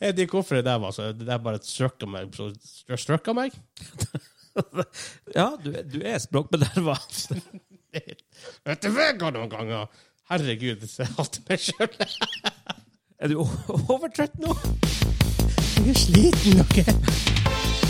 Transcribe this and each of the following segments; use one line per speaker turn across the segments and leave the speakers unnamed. Jeg vet ikke hvorfor Eh, det der var så Det der bare strøkka meg. Så, strøkka meg.
Ja, du, er- du er språkbederva.
Vet du hva noen ganger? Herregud, jeg hater meg sjøl.
Er du o- overtrøtt nå?
Jeg er sliten, OK?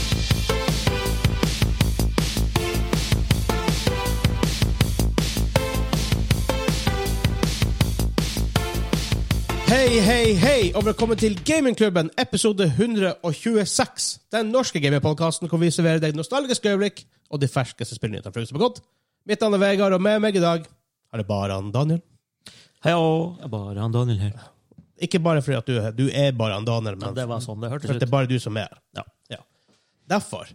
Hei, hei, hei, og velkommen til Gamingklubben, episode 126. Den norske gamingpodkasten hvor vi serverer deg nostalgiske øyeblikk og de ferskeste spillnyhetene fra huset på godt. Mitt navn er Vegard, og med meg i dag er det bare han Daniel.
Hei og Jeg bare han Daniel her.
Ikke bare fordi at du, er- du er bare han Daniel, men
Ja, det var sånn det hørtes
For at det
ut.
er bare du som er her.
Ja.
Ja. Derfor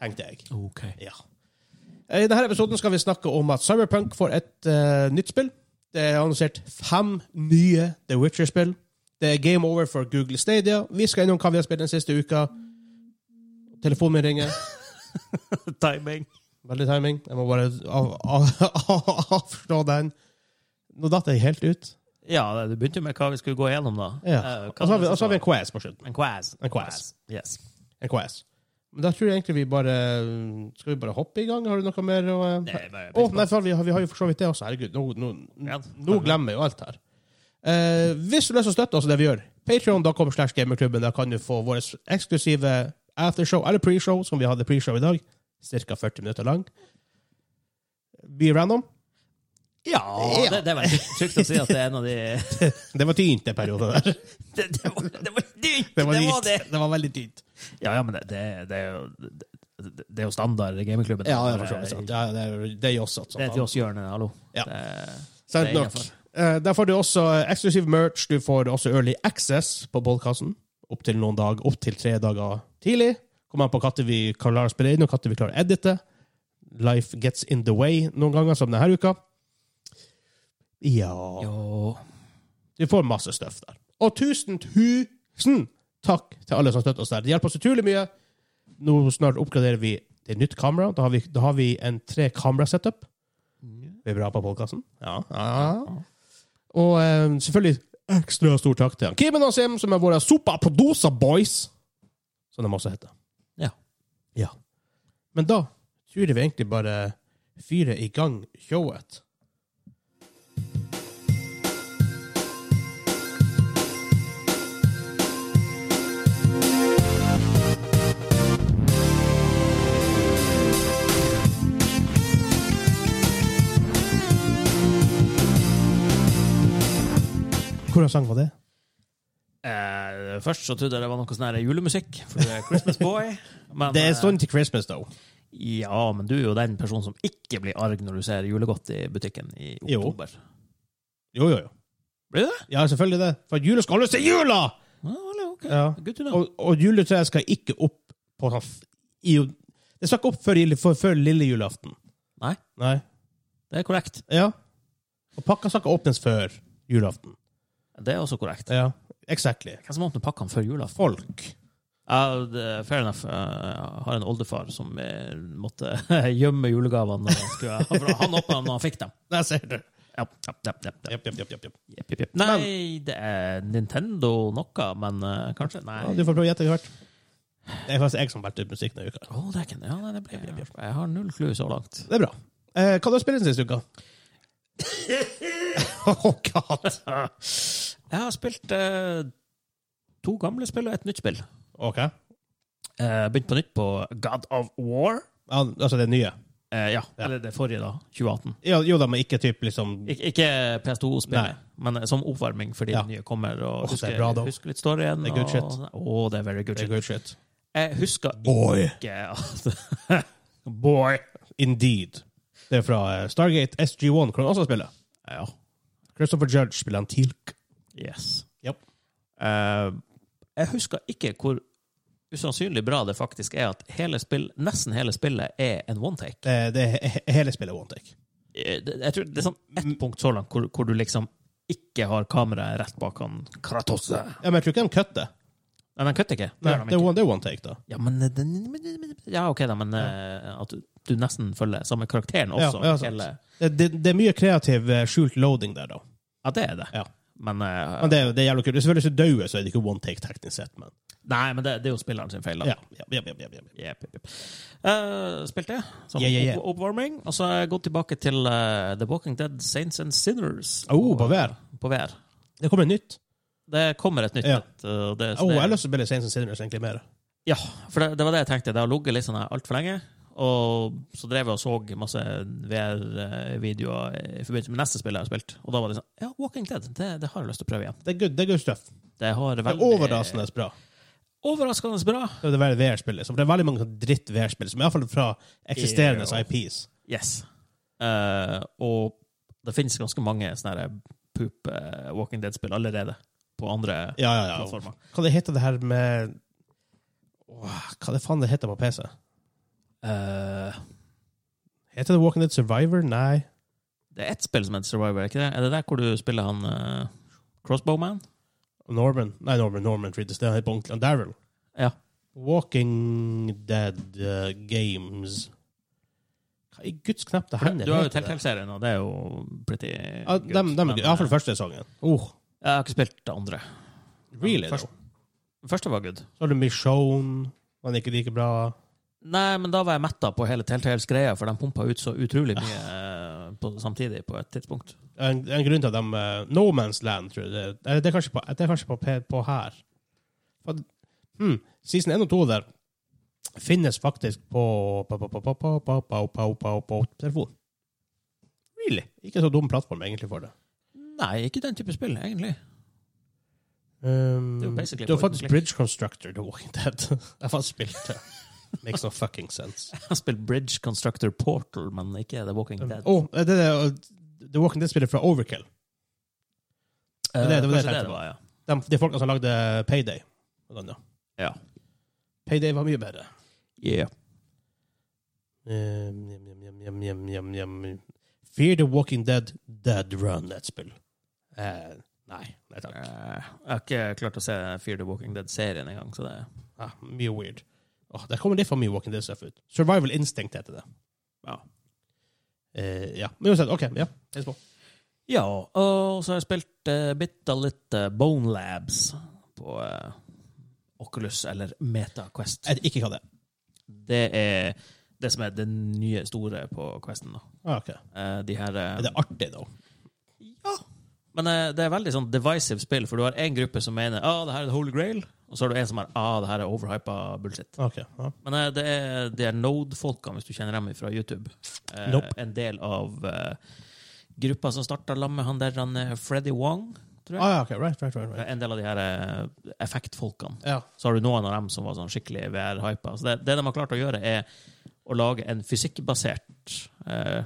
tenkte jeg.
Ok.
Ja. Eh, I denne episoden skal vi snakke om at Cyberpunk får et eh, nytt spill. Det er annonsert fem nye The Witcher-spill. Det er game over for Google Stadia. Vi skal innom hva vi har spilt den siste uka. Telefonen min ringer.
Timing.
Veldig timing. Jeg må bare av- av- avslå den. Nå datt jeg helt ut.
Ja, du begynte jo med hva vi skulle gå gjennom, da.
Ja.
Eh,
Og
hva
så har vi,
var det
og så
som
har vi en quiz på slutten.
var? En quiz.
En quiz.
Yes.
En quiz. Men da tror jeg egentlig vi bare Skal vi bare hoppe i gang? Har du noe mer å eh,
Nei, bare-
Å, nei, faen, vi, har, vi har jo for så vidt det også. Herregud, nå, nå,
Ja.
nå glemmer jeg jo alt her. Eh, hvis du har lyst til å støtte oss i det vi gjør, patreon.com slash gamerklubben. Der kan du få vår eksklusive aftershow, eller preshow, som vi hadde preshow i dag. Cirka 40 minutter lang. Be random.
Ja,
Ja.
Det, det er veldig trygt å si at det er en av de
Det var tynt, den perioden der.
Det, det var dyrt! Det var dyrt!
Det var,
det,
dyrt. det var veldig tynt.
Ja, ja, men det, det, det er jo det, det er jo standard i gamingklubben.
Ja, det er for så vidt sant. Ja, det er- det er jo også
Det er til oss hjørnet, hallo.
Ja.
Det, det
Sant
er
nok.
innenfor.
Eh, Der får du også eksklusiv merch. Du får også early access på podkasten. Opptil noen dag, opp til tre dager tidlig. Kommer an på når vi klarer å spille inn, og når vi klarer å edite. Life gets in the way noen ganger, som denne uka. Ja
Jo.
Du får masse støff der. Og tusen, tusen takk til alle som støtter oss der. Det hjelper oss utrolig mye. Nå snart oppgraderer vi til nytt kamera. Da har vi, da har vi en tre kamera-setup. Vi er bra på podkasten. Ja. ja. Og eh, selvfølgelig ekstra stor takk til han. Kimen og Sim, som er våre Sopa-Podosa Boys, som de også heter.
Ja.
ja. Men da tror jeg vi egentlig bare fyrer i gang showet. Hvordan sang var det?
Eh, først så trodde jeg det var noe sånn her julemusikk, for du er Christmas boy. Men,
Det er
eh,
stund til Christmas, though.
Ja, men du er jo den personen som ikke blir arg når du ser julegodt i butikken i
Jo.
oktober.
Jo, jo, jo.
Blir det?
Ja, selvfølgelig det. For at jula skal holdes til jula!
Ja, vel, ok.
Ja.
Good to know.
Og, og juletreet skal ikke opp på sånn f- i, Det skal ikke opp før, jule- før, før lille julaften.
Nei.
Nei.
Det er korrekt.
Ja. Og pakka skal ikke åpnes før julaften.
Det er også korrekt.
Ja. Exactly.
Hvem som åpner pakkene før jula?
Folk.
Ja, det- fair enough. Eh, Jeg har en oldefar som eh, måtte gjemme julegavene. Når han, skulle, for han åpna dem når han fikk dem.
Der ser du.
Ja, ja, ja, ja, ja.
Japp, japp, japp, japp, japp.
Jepp, jepp, jepp. Nei, det er Nintendo noe, men eh, kanskje Nei.
Ja, du får prøve å gjette hvert. Det er faktisk jeg som har valgt ut musikk denne uka.
Å, det er ikke ja, nei, det blir, Jeg har null clue så langt.
Det er bra. Eh, hva har du spilt den siste uka? oh, God.
Jeg har spilt eh, to gamle spill og et nytt spill.
OK.
Eh, Begynt på nytt på God of War.
Ja, altså det nye?
Eh, ja,
Ja.
eller det forrige, da. 2018.
Ja, jo da, men ikke typ liksom
Ik ikke PS2-spillet, men eh, som oppvarming fordi
Ja.
det nye kommer. Og
Åh, det er
husker,
bra, da.
husker litt storyen.
Det er good shit.
og, Åh, det er very good
Det er
shit.
good shit.
Jeg husker
Boy.
ikke at Boy!
Indeed. Det er fra eh, Stargate SG1, hvor han også spiller.
Ja.
Christopher Judge spiller han Tilk.
Yes.
Japp.
Eh, jeg husker ikke hvor usannsynlig bra det faktisk er at hele spill, nesten hele spillet er en one take.
Det, det er he- hele spillet one take.
Eh, det- Jeg tror Det er sånn
Mm.
ett punkt så langt hvor, hvor du liksom ikke har kameraet rett bak han Kratos. Nei,
Ja, men jeg tror ikke de kutter.
de kutter ikke. Det
Nei,
gjør de
det, er
ikke.
one, det er one take, da.
Ja, men eh, den- men- men- Ja, OK, da, men eh, at du, du nesten følger samme karakteren også.
Ja, ja, sant.
hele,
Det, det, det er mye kreativ eh, skjult loading der, da.
ja det er det.
Ja.
Men, eh,
Men det, er- det er jævlig kult. Hvis du selvfølgelig ikke dauer, så er det ikke one take teknisk sett, men
Nei, men det, det er jo spilleren sin feil, da.
ja. ja, ja, ja, ja, ja.
Jep, jep, jep. Eh, spilte jeg som
Ja, ja, ja.
opp- oppvarming. Og så har jeg gått tilbake til eh, The Walking Dead Saints and Sinners.
Oh,
Og,
på VR.
eh, På VR.
Det kommer nytt.
Det kommer et nytt
Ja.
et. eh, det, så
Oh,
det-
jeg har lyst til å spille Saints and Sinners egentlig mer.
Ja, for det, det var det jeg tenkte. Det har ligget litt sånn her altfor lenge. Og så drev jeg og så masse VR-videoer i forbindelse med neste spill jeg har spilt. Og da var det sånn Ja, Walking Dead, det, det har jeg lyst til å prøve igjen.
Det er good, det er good stuff.
Det har
Det er
veldig
overraskende bra.
Overraskende bra.
Det er det veldig VR-spillet. For det er veldig mange sånne dritt VR-spill, som iallfall fra eksisterende
Ja.
IPs.
Yes. Eh, og det finnes ganske mange sånne her poop eh, Walking Dead-spill allerede. På andre
Ja, ja, ja.
plattformer.
Hva det heter det her med Åh, Hva det faen det heter på PC?
Eh,
Heter det Walking Dead Survivor? Nei.
det er ett spill som heter Survivor, er ikke det? Er det der hvor du spiller han eh, Crossbowman?
Norman. Nei, Norman Norman Reedus. Det heter på ordentlig. Han Daryl.
Ja.
Walking Dead eh, Games. Hva i guds knepte
For
hender
det, du har jo
heter det?
Telltale-serien, og det er jo pretty
Ja,
good,
dem, dem er
men,
gøy. Iallfall første sesongen. Oh,
eh, Jeg har ikke spilt det andre.
really,
Først-
though?
Den første var good.
Så har du Michonne. Den er ikke like bra.
Nei, men da var jeg metta på hele Telltales greia, for de pumpa ut så utrolig mye eh, på, samtidig på et tidspunkt.
En, en grunn til at de eh, No Man's Land, tror jeg. Det, eller det er kanskje på, det er kanskje på, P- på her. For, hmm, season 1 og 2 der finnes faktisk på, på, på, på, på, på, på, på, på, på, på telefon. Really? Ikke så dum plattform egentlig for det.
Nei, ikke den type spill, egentlig.
Um,
Det er jo basically
det var
point
faktisk
and click.
Bridge Constructor The Walking Dead. Jeg har spilt det. Makes no fucking sense.
Jeg har spilt Bridge Constructor Portal, men ikke The Walking
Um,
Dead.
oh, det er The Walking Dead-spillet fra Overkill.
Eh,
det- det var det jeg
kanskje
tenkte på.
var, ja.
De, de folkene som lagde Payday. Blant annet.
Ja.
Payday var mye bedre.
Yeah.
Um, jam, jam, jam, jam, jam, jam, jam. Fear the Walking Dead, Dead Run, det er et spill. Eh, nei, nei takk.
Eh, jeg har ikke klart å se Fear the Walking Dead-serien engang, så det
Ah, mye weird. Åh, der kommer litt for mye Walking Dead-stuff ut. Survival Instinct heter det.
Ja.
Eh, ja. Men uansett, ok, ja. Hils på.
Ja, og så har jeg spilt uh, bitte litt eh, Bone Labs på eh, Oculus eller Meta Quest.
Jeg vet ikke hva det er.
Det er det som er det nye store på Questen. da.
Ah, ok.
Eh, de her eh,
Er det artig, da?
Ja. Men eh, det er veldig sånn divisive spill, for du har én gruppe som mener ah, det her er the holy grail, og så har du en som er ah, det her er overhypa bullshit.
Ok, ja.
Men eh, det er, det er Node-folkene, hvis du kjenner dem fra YouTube. Eh,
Nope.
En del av eh, gruppa som starta sammen med han der han, eh, Freddy Wong.
Ah, ja, ok, right, right, right. right.
En del av de her eh, effektfolkene.
Ja.
Så har du noen av dem som var sånn skikkelig VR-hypa. Så det, det de har klart å gjøre, er å lage en fysikkbasert eh,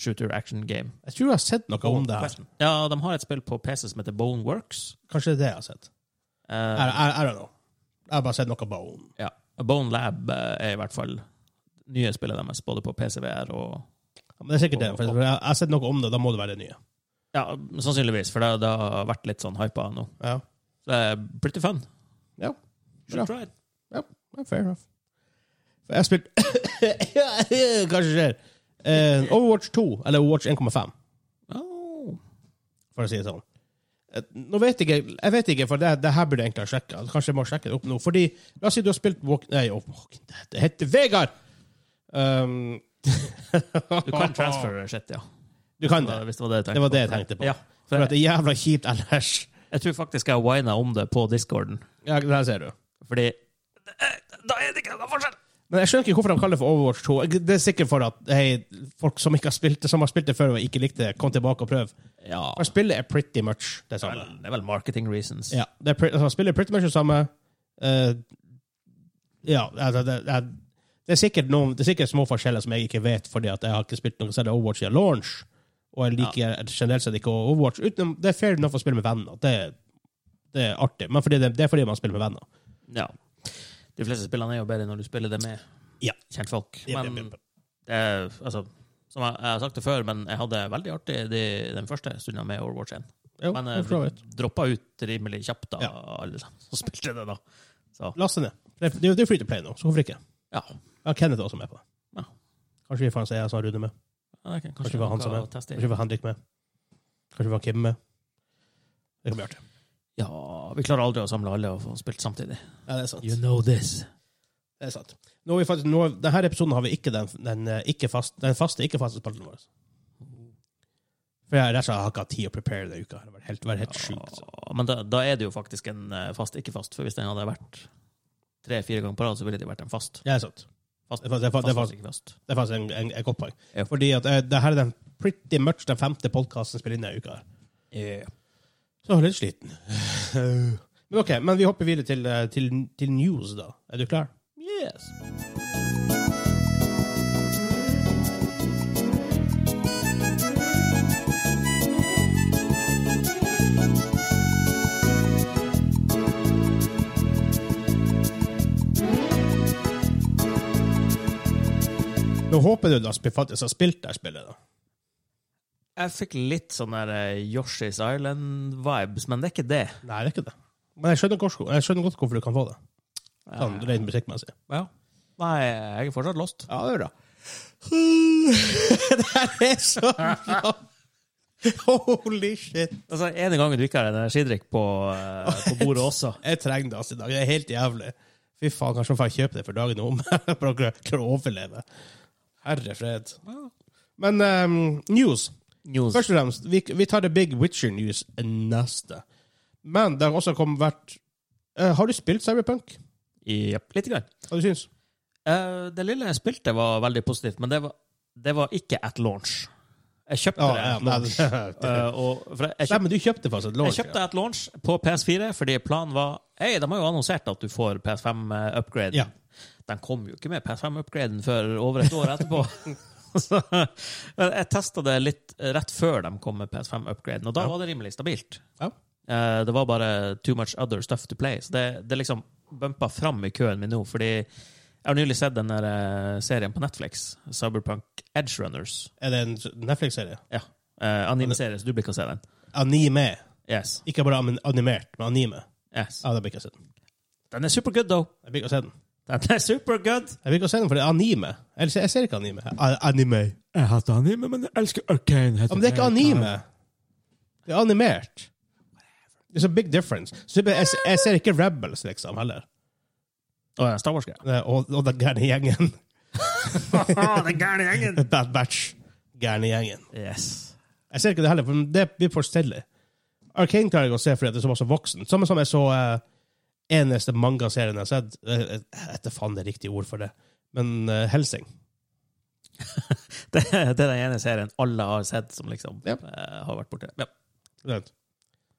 shooter action game.
Jeg tror jeg har sett noe om det her.
Ja, de har et spill på PC som heter Boneworks.
Kanskje det er det jeg har sett. I,
Eh,
I, I don't know. Jeg har bare sett noe bone.
ja. Bone Lab eh, er i hvert fall nye spillet deres, både på PCVR og
Ja, Men det er sikkert det, for jeg jeg har sett noe om det, da må det være det nye.
Ja, sannsynligvis, for det, det har vært litt sånn hypa nå.
Ja.
Så det er pretty fun.
Ja.
Should
Bra.
try it.
Ja, Fair enough. For jeg har spilt Hva skjer? Eh, Overwatch 2, eller Overwatch 1,5,
Oh.
for å si det sånn. Eh, Nå vet jeg, ikke- jeg vet ikke, for det, det her burde jeg egentlig ha sjekka. Kanskje jeg må sjekke det opp nå. Fordi, la oss si du har spilt Walk... Nei, oh, Walk- det heter Vegard! Um,
Du kan transfer shit, ja.
Du kan det.
Hvis det var det jeg tenkte
Det var det jeg tenkte på.
Ja,
For at det er jævla kjipt ellers.
Jeg tror faktisk jeg whina om det på discorden.
Ja, der ser du.
Fordi Da er det ikke noe forskjell!
Men jeg skjønner ikke hvorfor de kaller det for Overwatch 2. Det er sikkert for at hei, folk som ikke har spilt det, som har spilt det før og ikke likte det, kom tilbake og prøv.
Ja,
For spillet er pretty much det
vel,
samme.
det er vel marketing reasons.
Ja, det er pre altså, spillet er pretty much det samme. Eh, ja, altså, det, det, er- det, er sikkert noen, det er sikkert små forskjeller som jeg ikke vet, fordi at jeg har ikke spilt noe særlig Overwatch siden launch. Og jeg liker generelt sett ikke Overwatch. Utenom, det er fair enough å spille med venner. Det, det er artig. Men fordi det, det er fordi man spiller med venner.
Ja. De fleste spillene er jo bedre når du spiller det med
Ja.
kjentfolk.
Ja,
Men
ja, ja.
det er, altså, som jeg, jeg har sagt det før, men jeg hadde veldig artig de, den første stunden med Overwatch 1.
Jo,
Men
for så
jeg
vidt.
droppa ut rimelig kjapt da,
Ja.
alle sammen som spilte det da.
Last det ned. Det er- Det er jo- det er free to play nå, så hvorfor ikke?
Ja.
Ja, Kenneth er også med på det.
Ja.
Kanskje vi får han som jeg som har Rune med.
Ja, det kan
Kanskje det var han
noe
som
å teste i.
Kanskje vi får Henrik med. Kanskje vi får Kim med. Det kan vi gjøre til.
Ja, vi klarer aldri å samle alle og få spilt samtidig.
Ja, det er sant.
know this.
Det er sant. Nå har vi faktisk, nå, denne episoden har vi ikke den, den, eh, ikke fast, den faste, ikke faste spalten vår. For jeg, rett og slett, har ikke hatt tid å prepare denne uka. Det har vært helt, vært helt sjukt. altså.
Ja, men da, da er det jo faktisk en eh, fast, ikke fast. For hvis den hadde vært tre-fire ganger på rad, så ville det vært en fast.
Ja, Det er sant.
Fast,
Det er fa- det er fa-
fast,
det er fa-
ikke fast.
Det er faktisk en, en, et godt poeng.
Ja.
Fordi at eh, det her er den pretty much den femte podkasten jeg spiller inn denne uka. her. Så jeg er litt sliten. Men ok, men vi hopper videre til, eh, til, til news, da. Er du klar?
Yes.
Nå håper du da sp- faktisk har spilt det her spillet, da.
Jeg fikk litt sånn der eh, Yoshi's Island-vibes, men det er ikke det.
Nei, det er ikke det. Men jeg skjønner, hvorfor, jeg skjønner godt hvorfor du kan få det, sånn
Eh,
rent musikkmessig.
ja. Nei, jeg er fortsatt lost.
Ja, det er bra. det her er så bra! Holy shit!
Altså, En gang du ikke har en energidrikk på, eh, på bordet også.
Jeg trenger det altså i dag. Det er helt jævlig. Fy faen, kanskje får jeg kjøpe det for dagen om for å klare å overleve. Herre fred. Men ehm, news.
News.
Først og fremst, vi, vi tar The Big Witcher News neste. Men det har også kommet vært eh, Har du spilt Cyberpunk?
Jep, Litt grann.
Hva du syns
Eh, det lille jeg spilte, var veldig positivt, men det var, det var ikke at launch. Jeg kjøpte
Ja,
det
Ah, ja,
at
nei,
launch.
det-
Eh, og, for jeg, jeg,
Nei,
kjøpte,
men du kjøpte faktisk et
jeg
launch.
kjøpte at launch på PS4 fordi planen var Hei, de har jo annonsert at du får PS5-upgrade.
Ja.
De eh, kom jo ikke med PS5-upgraden før over et år etterpå. Så, men jeg testa det litt rett før de kom med PS5-upgraden, og da
Ja.
var det rimelig stabilt.
Ja.
Eh, det var bare too much other stuff to play. Så det, det liksom bumpa fram i køen min nå, fordi jeg har nylig sett den der eh, serien på Netflix, Cyberpunk Edge Runners.
Er det en Netflix-serie?
Ja. Uh, Anime-serie, så du blir ikke å se den.
Anime.
Yes.
Ikke bare anim- animert, men anime.
yes.
Ja, da blir ikke jeg se den.
Den er supergood, though.
Jeg blir ikke å se den.
Den er supergood!
Jeg vil ikke se den, for det er anime. Jeg, jeg ser ikke anime. A- Anime.
Jeg hater anime, men jeg elsker Arcane.
Ja, men det er ikke anime. Det er animert. It's a big difference. Så jeg, jeg, jeg ser ikke Rebels, liksom, heller.
Star Wars-greia.
Eh, Og, og den gærne gjengen.
Den gærne gjengen!
Bad Batch. Gærne gjengen.
Yes.
Jeg ser ikke det heller, for det blir for stille. Arcane klarer jeg ikke å se fordi at det er såpass voksen. Samme som jeg så eh, eneste mangaserien jeg har sett. Eh, eh, Jeg vet faen det riktige ord for det. Men eh, Helsing.
Det, det er den ene serien alle har sett, som liksom
Ja.
eh, har vært borti. Ja,
Vent.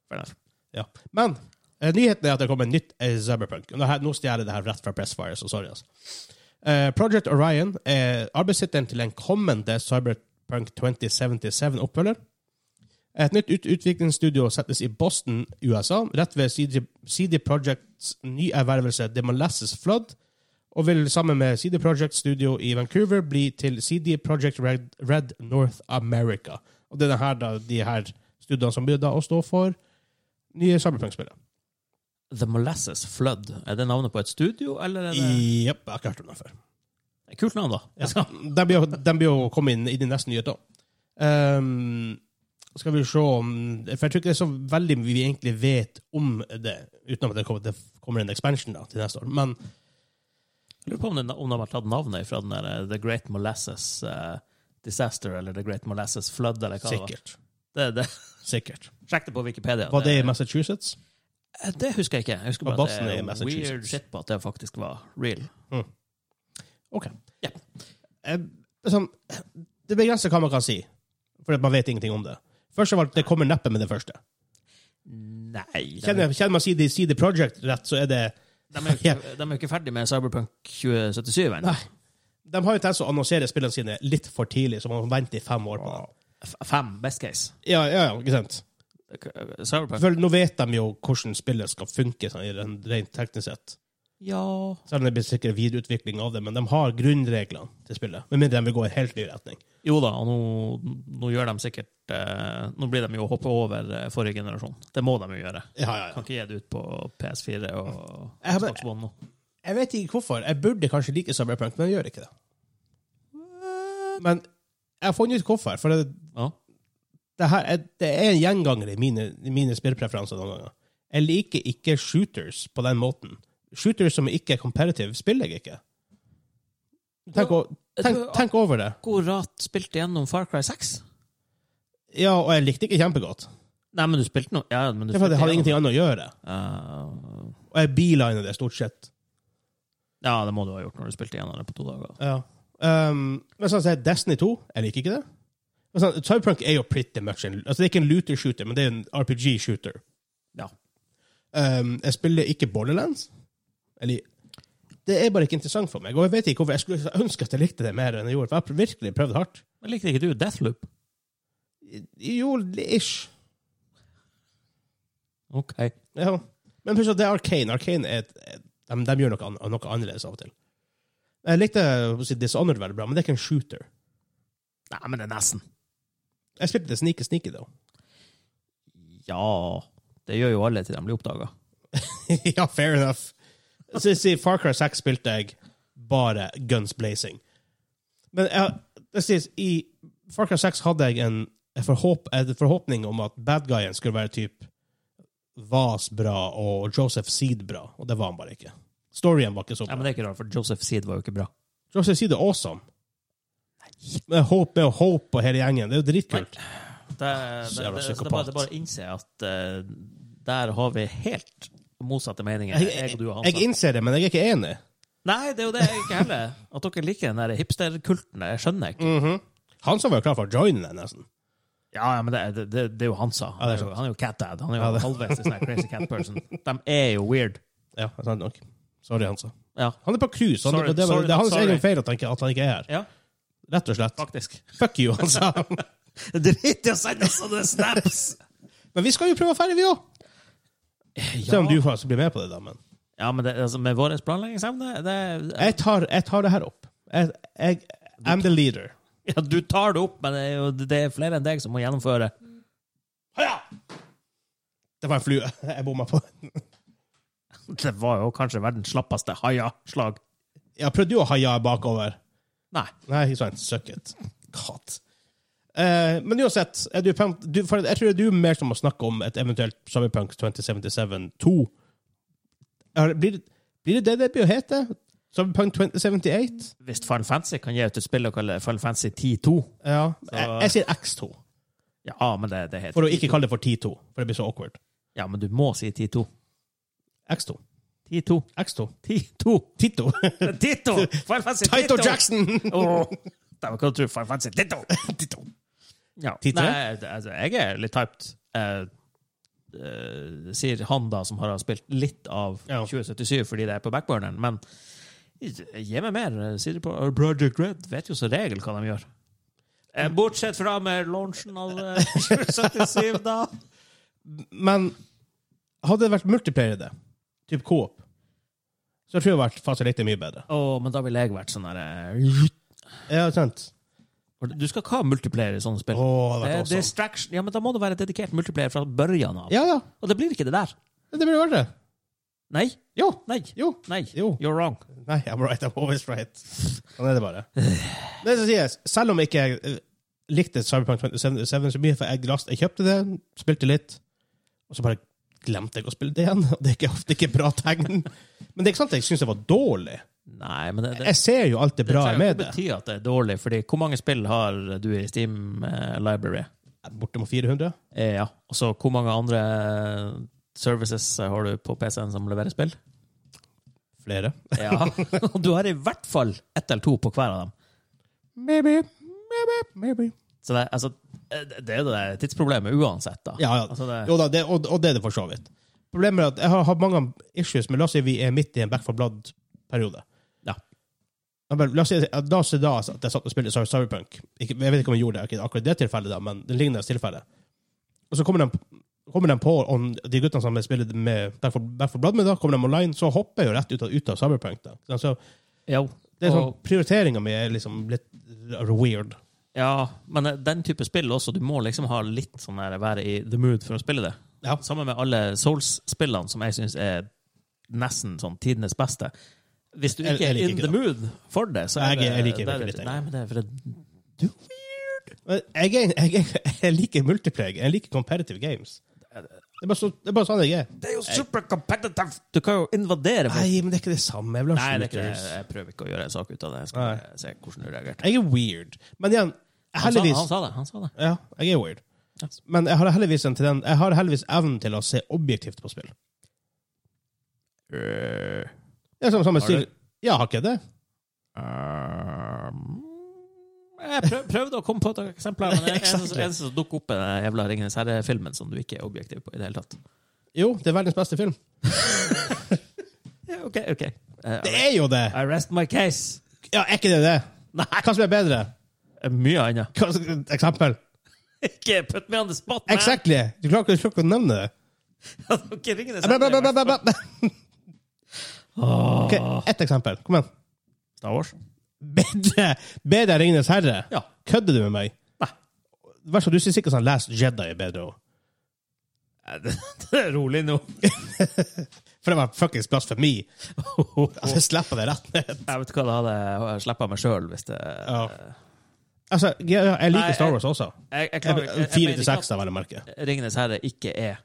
fair enough.
Ja. Men eh, nyheten er at det kommer nytt eh, Cyberpunk. Nå, her- nå stjeler jeg det her rett fra Pressfire, så sorry. Altså. Eh, Project Orion er arbeidstittelen til en kommende Cyberpunk 2077-oppfølger. Et nytt ut utviklingsstudio settes i Boston, USA, rett ved CD, CD Projects nyervervelse Demolasses Flood, og vil sammen med CD Project Studio i Vancouver bli til CD Project Red, Red North America. Og det er det her da, de her studioene som blir da å stå for nye Cyberpunk-spillet.
The Molasses Flood. Er det navnet på et studio, eller er det
Jepp, jeg har ikke hørt om den før.
Kult navn, da. Jeg skal-
Den blir, jo- den blir jo kommet inn i de neste nyhetene. Ehm, skal vi se om For jeg tror ikke det er så veldig mye vi egentlig vet om det, utenom at det kommer, det kommer en expansion da, til neste år. Men
Jeg lurer på om, det, om de har tatt navnet fra den der eh, The Great Molasses eh, Disaster, eller The Great Molasses Flood, eller hva
sikkert.
det var. Det, det.
sikkert.
Sjekk det på Wikipedia.
Var det i Massachusetts?
Eh, det husker jeg ikke. Jeg husker
Var
bare at
Boston i
det er
Massachusetts?
weird shit på at det faktisk var real.
OK.
Ja.
Eh, liksom, det begrenser hva man kan si, for man vet ingenting om det. Først av alt, Det kommer neppe med det første.
Nei. De,
Kjenner, kjenner man CD, CD Project rett, så er det
de, er, jo ikke- de er jo ikke ferdig med Cyberpunk 2077 ennå.
Nei. De har jo tendens å annonsere spillene sine litt for tidlig, så man må vente i fem år på det.
F- Fem, best case.
Ja, ja, ja, ikke sant?
Cyberpunk
For nå vet de jo hvordan spillet skal funke sånn, i den- rent teknisk sett.
Ja
Selv om det blir sikkert videreutvikling av det, men de har grunnreglene til spillet. Med mindre de vil gå i en helt ny retning.
Jo da, og nå, nå gjør de sikkert eh, Nå blir de jo å hoppe over eh, forrige generasjon. Det må de jo gjøre.
Ja, ja, ja.
Kan ikke gi det ut på PS4 og
Jeg har bare-
Xbox One nå.
Jeg vet ikke hvorfor. Jeg burde kanskje like Cyberpunk, men jeg gjør ikke det. Men jeg har funnet ut hvorfor. For det,
Ja.
det, her er, det er en gjenganger i mine, i mine spillpreferanser noen ganger. Jeg liker ikke shooters på den måten. Shooters som ikke er competitive, spiller jeg ikke. Tenk, o- tenk, tenk over det.
Akkurat spilte gjennom Far Cry 6.
Ja, og jeg likte ikke kjempegodt.
Nei, men du spilte noe ja, men du
Det er fordi jeg hadde
spilte
ingenting annet å gjøre.
gjennom. Eh,
Og jeg beeliner det stort sett.
ja, det må du ha gjort når du spilte gjennom det på to dager.
Ja. Um, men sånn sier Destiny 2, jeg liker ikke det. Men sånn, Cyberpunk er jo pretty much en, altså Det er ikke en looter-shooter, men det er en RPG-shooter.
Ja.
Um, jeg spiller ikke Borderlands. Eller, det er bare ikke interessant for meg. Og jeg vet ikke hvorfor jeg skulle jeg ønske at jeg likte det mer enn jeg gjorde. For jeg har virkelig prøvd hardt.
Men likte ikke du Deathloop?
Jo, ish.
Ok.
Ja. Men plutselig, det er Arcane. Arcane er et, et, de, de gjør noe, an, noe annerledes av og til. Jeg likte å si, Dishonored veldig bra, men det er ikke en shooter.
Nei, men det er nesten.
Jeg spilte det Sneaky Sneaky, da.
Ja. Det gjør jo alle til de blir oppdaga.
ja, fair enough. Så jeg sier Far Cry 6 spilte jeg bare guns blazing. Men jeg, det sies, i Far Cry 6 hadde jeg en, en, forhåp, en forhåpning om at bad guyen skulle være typ Vas bra og Joseph Seed bra, og det var han bare ikke. Storyen var ikke så
Ja,
bra.
men det er ikke rart, for Joseph Seed var jo ikke bra.
Joseph Seed er awesome. Men Hope er jo Hope og hele gjengen. Det er jo dritkult.
Det, det,
Så jævla
det, det, det, er bare,
psykopat.
det er bare å innse at eh, der har vi helt motsatte meninger,
Jeg,
jeg, og du og
jeg,
Hansa.
jeg innser det, men jeg er ikke enig.
Nei, det er jo det jeg ikke heller. At dere liker den der hipsterkulten, det skjønner jeg ikke.
Mhm. Han som var jo klar for å joine den, nesten.
Mm. Ja, ja, men det, er- det, det er jo Hansa.
Ja,
Han
det er
er jo,
sant.
han er jo cat dad. Han er jo
Ja, det-
halvveis en sånn her crazy cat person. De er jo weird.
Ja, sant nok. Sorry, Hansa.
Ja,
Han er på cruise. Han,
Sorry,
det, det,
sorry,
det er hans
sorry.
egen feil at han, ikke, at han ikke er her.
Ja.
Rett og slett.
faktisk.
Fuck you, han sa.
Drit i å sende sånne snaps!
Men vi skal jo prøve å feire, vi òg! Se
Ja,
om du faktisk blir med på det, da. Men
ja men det, altså, med vår planleggingsevne det,
jeg tar, jeg tar det her opp. Jeg, jeg I'm the leader.
ja, Du tar det opp, men det er, jo, det er flere enn deg som må gjennomføre.
Haja! Det var en flue jeg bomma på.
Det var jo kanskje verdens slappeste haia-slag.
Ja, prøvde du å haia bakover?
Nei.
Nei, ikke sant. Suck it. God. Eh, men uansett, er du, punk- du, for jeg tror du er mer som å snakke om et eventuelt Summerpunk 2077 2. Er- Blir, blir det det det blir å hete? Summerpunk 2078?
Hvis Final Fantasy kan gi ut et spill og kalle det Final Fantasy 10-2
Ja. Jeg, Eh, jeg sier X2,
Ja, ah, men det, det
for
heter
å ikke kalle det for 10-2, for det blir så awkward.
Ja, men du må si 10-2.
X2.
10-2.
X2.
10-2.
Tito.
Tito! Final Fantasy
Tito Jackson!
Åh, Dæven, hva du tror du? Final Fantasy Tito!
Tito.
Ja.
Tito?
Nei, det- altså, jeg er litt hyped. Eh, eh, sier han da, som har spilt litt av
Ja.
2077 fordi det er på backburneren, men gi meg mer. Sier de på og Project Red vet jo som regel hva de gjør. Eh, Bortsett fra med launchen av eh, 2077, da.
Men hadde det vært multiplayer i det, typ Coop, så tror jeg det hadde vært fasilitert mye bedre.
Åh, men da ville jeg vært sånn derre
Ja, sant?
Du skal ikke ha multiplayer i sånne spill.
Åh, det
det
hadde
er
vært awesome.
distraction. Ja, men da må det være dedikert multiplayer fra børjan av.
Ja, ja.
Og det blir ikke det der.
Det burde vært det.
Nei.
Jo.
Nei.
Jo.
Nei.
Jo.
You're wrong.
Nei, I'm right. I'm always right. Sånn er det bare. Det som sies, selv om ikke jeg eh, likte Cyberpunk 2077 så mye, for jeg, last, jeg kjøpte det, spilte litt, og så bare glemte jeg å spille det igjen. Og Det er ikke, det er ikke bra tegn. Men det er ikke sant at jeg syns det var dårlig.
Nei, men det, det,
Jeg ser jo alt det bra
trenger
med
ikke
det.
bety at det er dårlig, fordi hvor mange spill har du i Steam eh, Library?
Bortimot 400.
Eh, ja. Og så hvor mange andre eh, services har du på PC-en som leverer spill?
Flere.
Ja. Og du har i hvert fall ett eller to på hver av dem.
Maybe. Maybe. Maybe.
Så det, altså, eh, det er jo det der tidsproblemet uansett, da.
Ja, ja.
Altså, det,
Jo da, det, og, og det er det for så vidt. Problemet er at jeg har hatt mange issues, men la oss si vi er midt i en Back for Blood-periode.
Ja.
Jeg bare- La oss si at da, så da at jeg satt og spilte Cy- Cyberpunk ikke, Jeg vet ikke om jeg gjorde det ikke akkurat det tilfellet, da, men det lignende tilfellet. Og så kommer de, kommer de på on, de guttene som jeg spiller med Back for, Back for Blood med, da, kommer de online, så hopper jeg jo rett ut av, ut av Cyberpunk. Da. Så- Så
jo.
det er sånn,
Og-
Prioriteringa mi er liksom litt weird.
Ja, men eh, den type spill også, du må liksom ha litt sånn der, være i the mood for å spille det.
Ja.
Sammen med alle Souls-spillene, som jeg syns er nesten sånn tidenes beste. Hvis du
Jeg-
ikke
jeg
er
liker
in
ikke
the mood for det, så
Nei,
er
jeg- jeg
det
liker
da
virkelig
er det-
ikke det.
Nei, men det er for det du er weird.
Men Jeg, er- jeg, er- jeg liker multiplayer. Jeg liker competitive games. Det er bare, så, det er bare sånn jeg er.
Det er jo super competitive! Du kan jo invadere folk.
Nei, men det er ikke det samme. Jeg vil ha
Nei, det er ikke,
shooters.
jeg prøver ikke å gjøre en sak ut av det. Jeg skal
Nei.
bare se hvordan du reagerte.
Jeg er weird. Men igjen,
Han sa,
heldigvis
han sa det. han sa det.
Ja, jeg er weird.
Ja.
Men jeg har heldigvis, en tenden- jeg har heldigvis evnen til å se objektivt på spill.
Øh,
Det er som, samme
Har
stil.
du?
Ja, har ikke jeg det?
øh, Eh, Jeg prøv, prøvde å komme på et eksempel, her, men det eneste
Exactly.
eneste som dukker opp, er den jævla Ringenes herre-filmen som du ikke er objektiv på i det hele tatt.
Jo, det er verdens beste film.
Ja, ok, ok. Eh,
Det er jo det!
I rest my case.
Ja, er ikke det det? Hva som er bedre?
Eh, Mye annet.
Hva, eksempel.
Ikke put me on the spot, man!
Exactly! Du klarer ikke, du klarer ikke å nevne det.
Ok, Ringenes
Bra, bra,
herre.
bra, bra, bra, bra. Ok, ett eksempel. Kom igjen.
Star Wars.
Bedre, bedre enn Ringenes herre?
Ja.
Kødder du med meg?
Nei.
Vær så snill, du syns ikke sånn Last Jedi er bedre også.
Eh, Det, det er rolig nå.
For det var fuckings blasfemi. Altså, jeg slipper det rett ned.
Jeg vet hva det hadde slippa meg sjøl hvis det
Ja. Altså, jeg, jeg
Nei,
liker
jeg-
Star Wars også.
Jeg, jeg
Jeg-
klarer jeg- jeg
Fire
mener
til
ikke at
seks, da, vel å merke.
Ringenes herre ikke er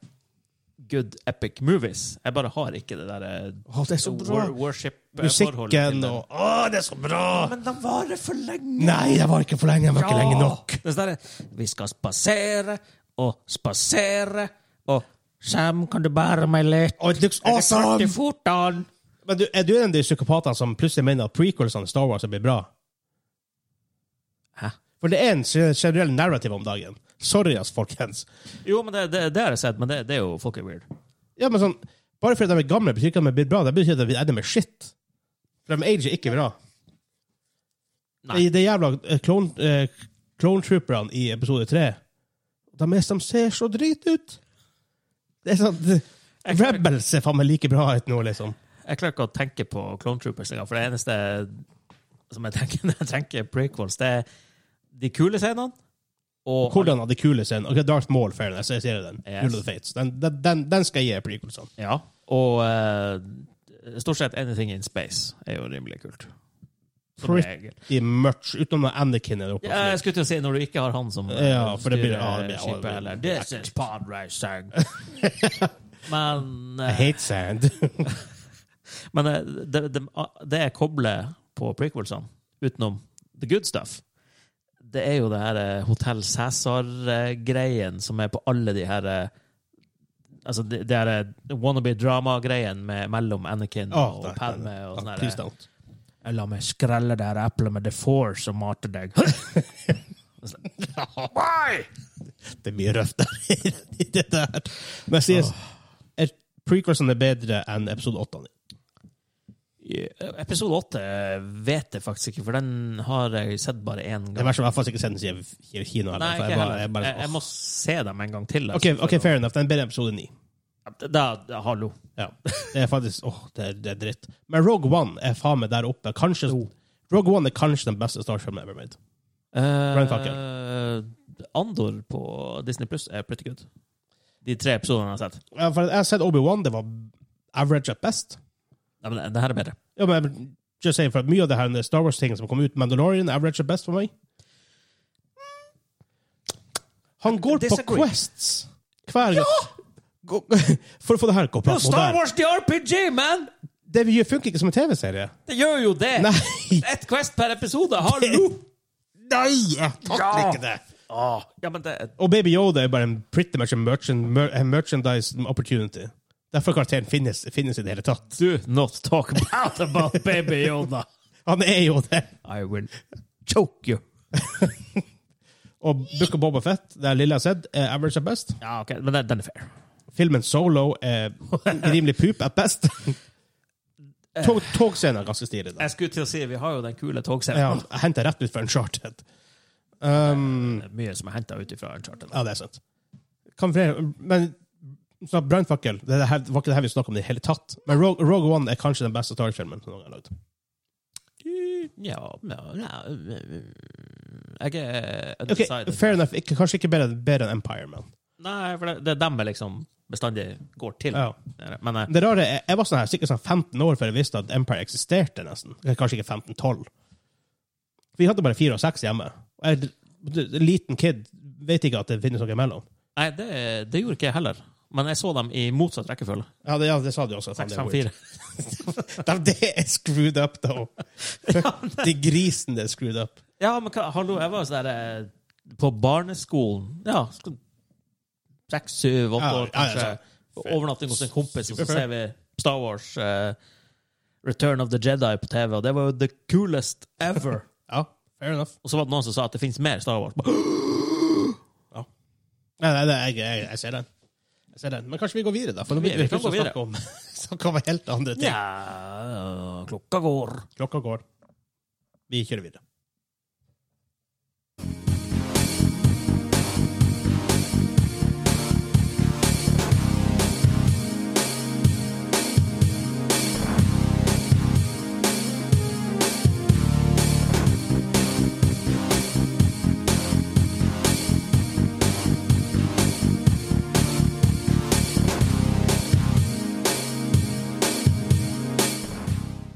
good epic movies. Jeg bare har ikke det eh, derre
Å, det er så bra! Musikken
eh, worship-forholdet.
og Å, det er så bra!
Men de varer for lenge!
Nei, det var ikke for lenge. Det var ikke lenge nok.
Det er sånn derre, Vi skal spasere og spasere og Sam, kan du bære meg litt?
Oh, it looks
Er det
awesome!
klart i fotan?
Men du, er du en av de psykopatene som plutselig mener at prequelsene i Star Wars blir bra?
Hæ?
For det er en ge- generell narrative om dagen. Sorry, ass, folkens.
Jo, men det, det, det har jeg sett, men det, det er jo fucking weird.
Ja, men sånn, Bare fordi de er gamle, betyr ikke at de blir bra. Det betyr at de ender med shit. For de ager ikke bra.
Nei.
De, de jævla eh, clone, eh, clone trooperne i episode tre de, er, de ser så drit ut! Det er sånn det,
Jeg-
Rebels ser faen meg like bra ut nå, liksom.
Jeg klarer ikke å tenke på Clone Troopers engang, for det eneste som jeg tenker når jeg tenker prequels, det er de kule scenene og
Hvordan hadde kule scenen? Ok, Darth Maul, fairness, jeg ser den.
Yes.
Rule of the Fates. Den, den, den, den skal jeg gi prequelsene.
Ja, og eh, stort sett anything in space er jo rimelig kult. Som
Pretty
regel.
i much, utenom når Anakin er oppe.
Ja, jeg skulle til å si når du ikke har han som eh,
Ja, for det blir-
styrer
ja, det blir-
skipet,
ja,
eller
det blir
This is pod racing. men eh,
I hate sand.
men eh, det, det, det jeg kobler på prequelsene, utenom the good stuff, det er jo det her eh, Hotell Cæsar-greien som er på alle de her eh, Altså det, det her eh, wannabe-drama-greien med- mellom Anakin
Åh,
og
nei, nei,
Padme
nei.
og
Ja,
sånn her,
Please don't.
jeg La meg skrelle det her eplet med The Force og mate deg. Why?
Det er mye røft der i det der. Men jeg sier, er prequelsene bedre enn episode 8?
Episode åtte eh, vet jeg faktisk ikke, for den har jeg sett bare én
Det er
gang.
verst i hvert fall ikke sett den siden i kino. Heller,
Nei,
for
ikke
jeg bare,
heller.
jeg bare,
Jeg, jeg må se dem en gang til.
Ok,
altså,
ok,
for
fair enough. Den er bedre enn episode 9.
å- Da, da, hallo.
Ja. Det er faktisk, åh, det er, det er dritt. Men Rogue One er faen meg der oppe. Kanskje, Rogue One er kanskje den beste Star Trek ever made.
Uh, Andor på Disney Pluss er pretty good. De tre episodene jeg har sett.
Ja, for Jeg har sett Obi-Wan, det var average at best.
Nei, men det- det her er bedre.
Ja, men just saying, for at Mye av det her er Star Wars-ting som kom ut, Mandalorian average er best for meg. Han går på
Disagree.
quests hver gang. Gå- For å få det her gå på
Star
moderne.
Wars the RPG, man!
Det vi gjør, funker ikke som en TV-serie.
Det gjør jo det!
Nei.
Ett Quest per episode, hallo!
Nei! Jeg takler
Ja.
ikke det.
Ah, ja, men det
Og Baby Yoda er bare en pretty much a merchant, mer, a merchandise opportunity. Derfor karakteren finnes, finnes i det hele tatt.
Do not talk bad about baby Yoda.
Han er jo det.
I will choke you.
Og Book of Boba Fett, det lille jeg har sett, er average at best.
Ja, ok, men den, den er fair.
Filmen Solo er rimelig pup at best. Tog, togscenen er ganske stilig. da.
Eh. Jeg skulle til å si, vi har jo den kule
Ja,
togscenen.
jeg henter rett ut fra Uncharted. Um,
Det er Mye som er henta ut ifra Uncharted.
ja, det er sant. Kan flere, men så Brannfakkel det, er det her- var ikke det her vi snakket om i det hele tatt. Men Rogue, Rogue One er kanskje den beste Star Trek-filmen som noen gang er lagd.
Ja, ja, ja Jeg er
Ok,
undecided.
fair enough. Ikke, kanskje ikke bedre, bedre enn Empire, men
Nei, for det, det er dem jeg liksom bestandig går til.
ja.
Men eh,
Det rare er, Jeg var sånn her, sikkert sånn 15 år før jeg visste at Empire eksisterte, nesten. Kanskje ikke 15-12. Vi hadde bare 4 og 6 hjemme. Og jeg d- liten kid vet ikke at det finnes noe imellom.
Nei, det, det gjorde ikke jeg heller. Men jeg så dem i motsatt rekkefølge.
Ja, det, ja, det sa de også. at han
6,
er
5,
weird.
4.
De, det er screwed up, though. Fuck, de grisene er screwed up.
Ja, men hva, hallo, jeg var jo sånn der eh, På barneskolen Ja, skal- seks, syv, åtte
Ja, ja,
år,
ja,
kanskje.
så-
Overnatting hos en kompis, og så
Superfair.
ser vi Star Wars eh, Return of the Jedi på TV, og det var jo the coolest ever.
Ja, fair enough.
og så var det noen som sa at det finnes mer Star Wars.
Nei, nei, nei jeg, jeg, jeg ser den. Jeg ser den. Men kanskje vi går videre, da? For nå
Vi-
begynner vi,
vi kan
plutselig
gå
å snakke om, snakke om helt andre ting.
Ja, Eh, klokka går.
Klokka går. Vi kjører videre.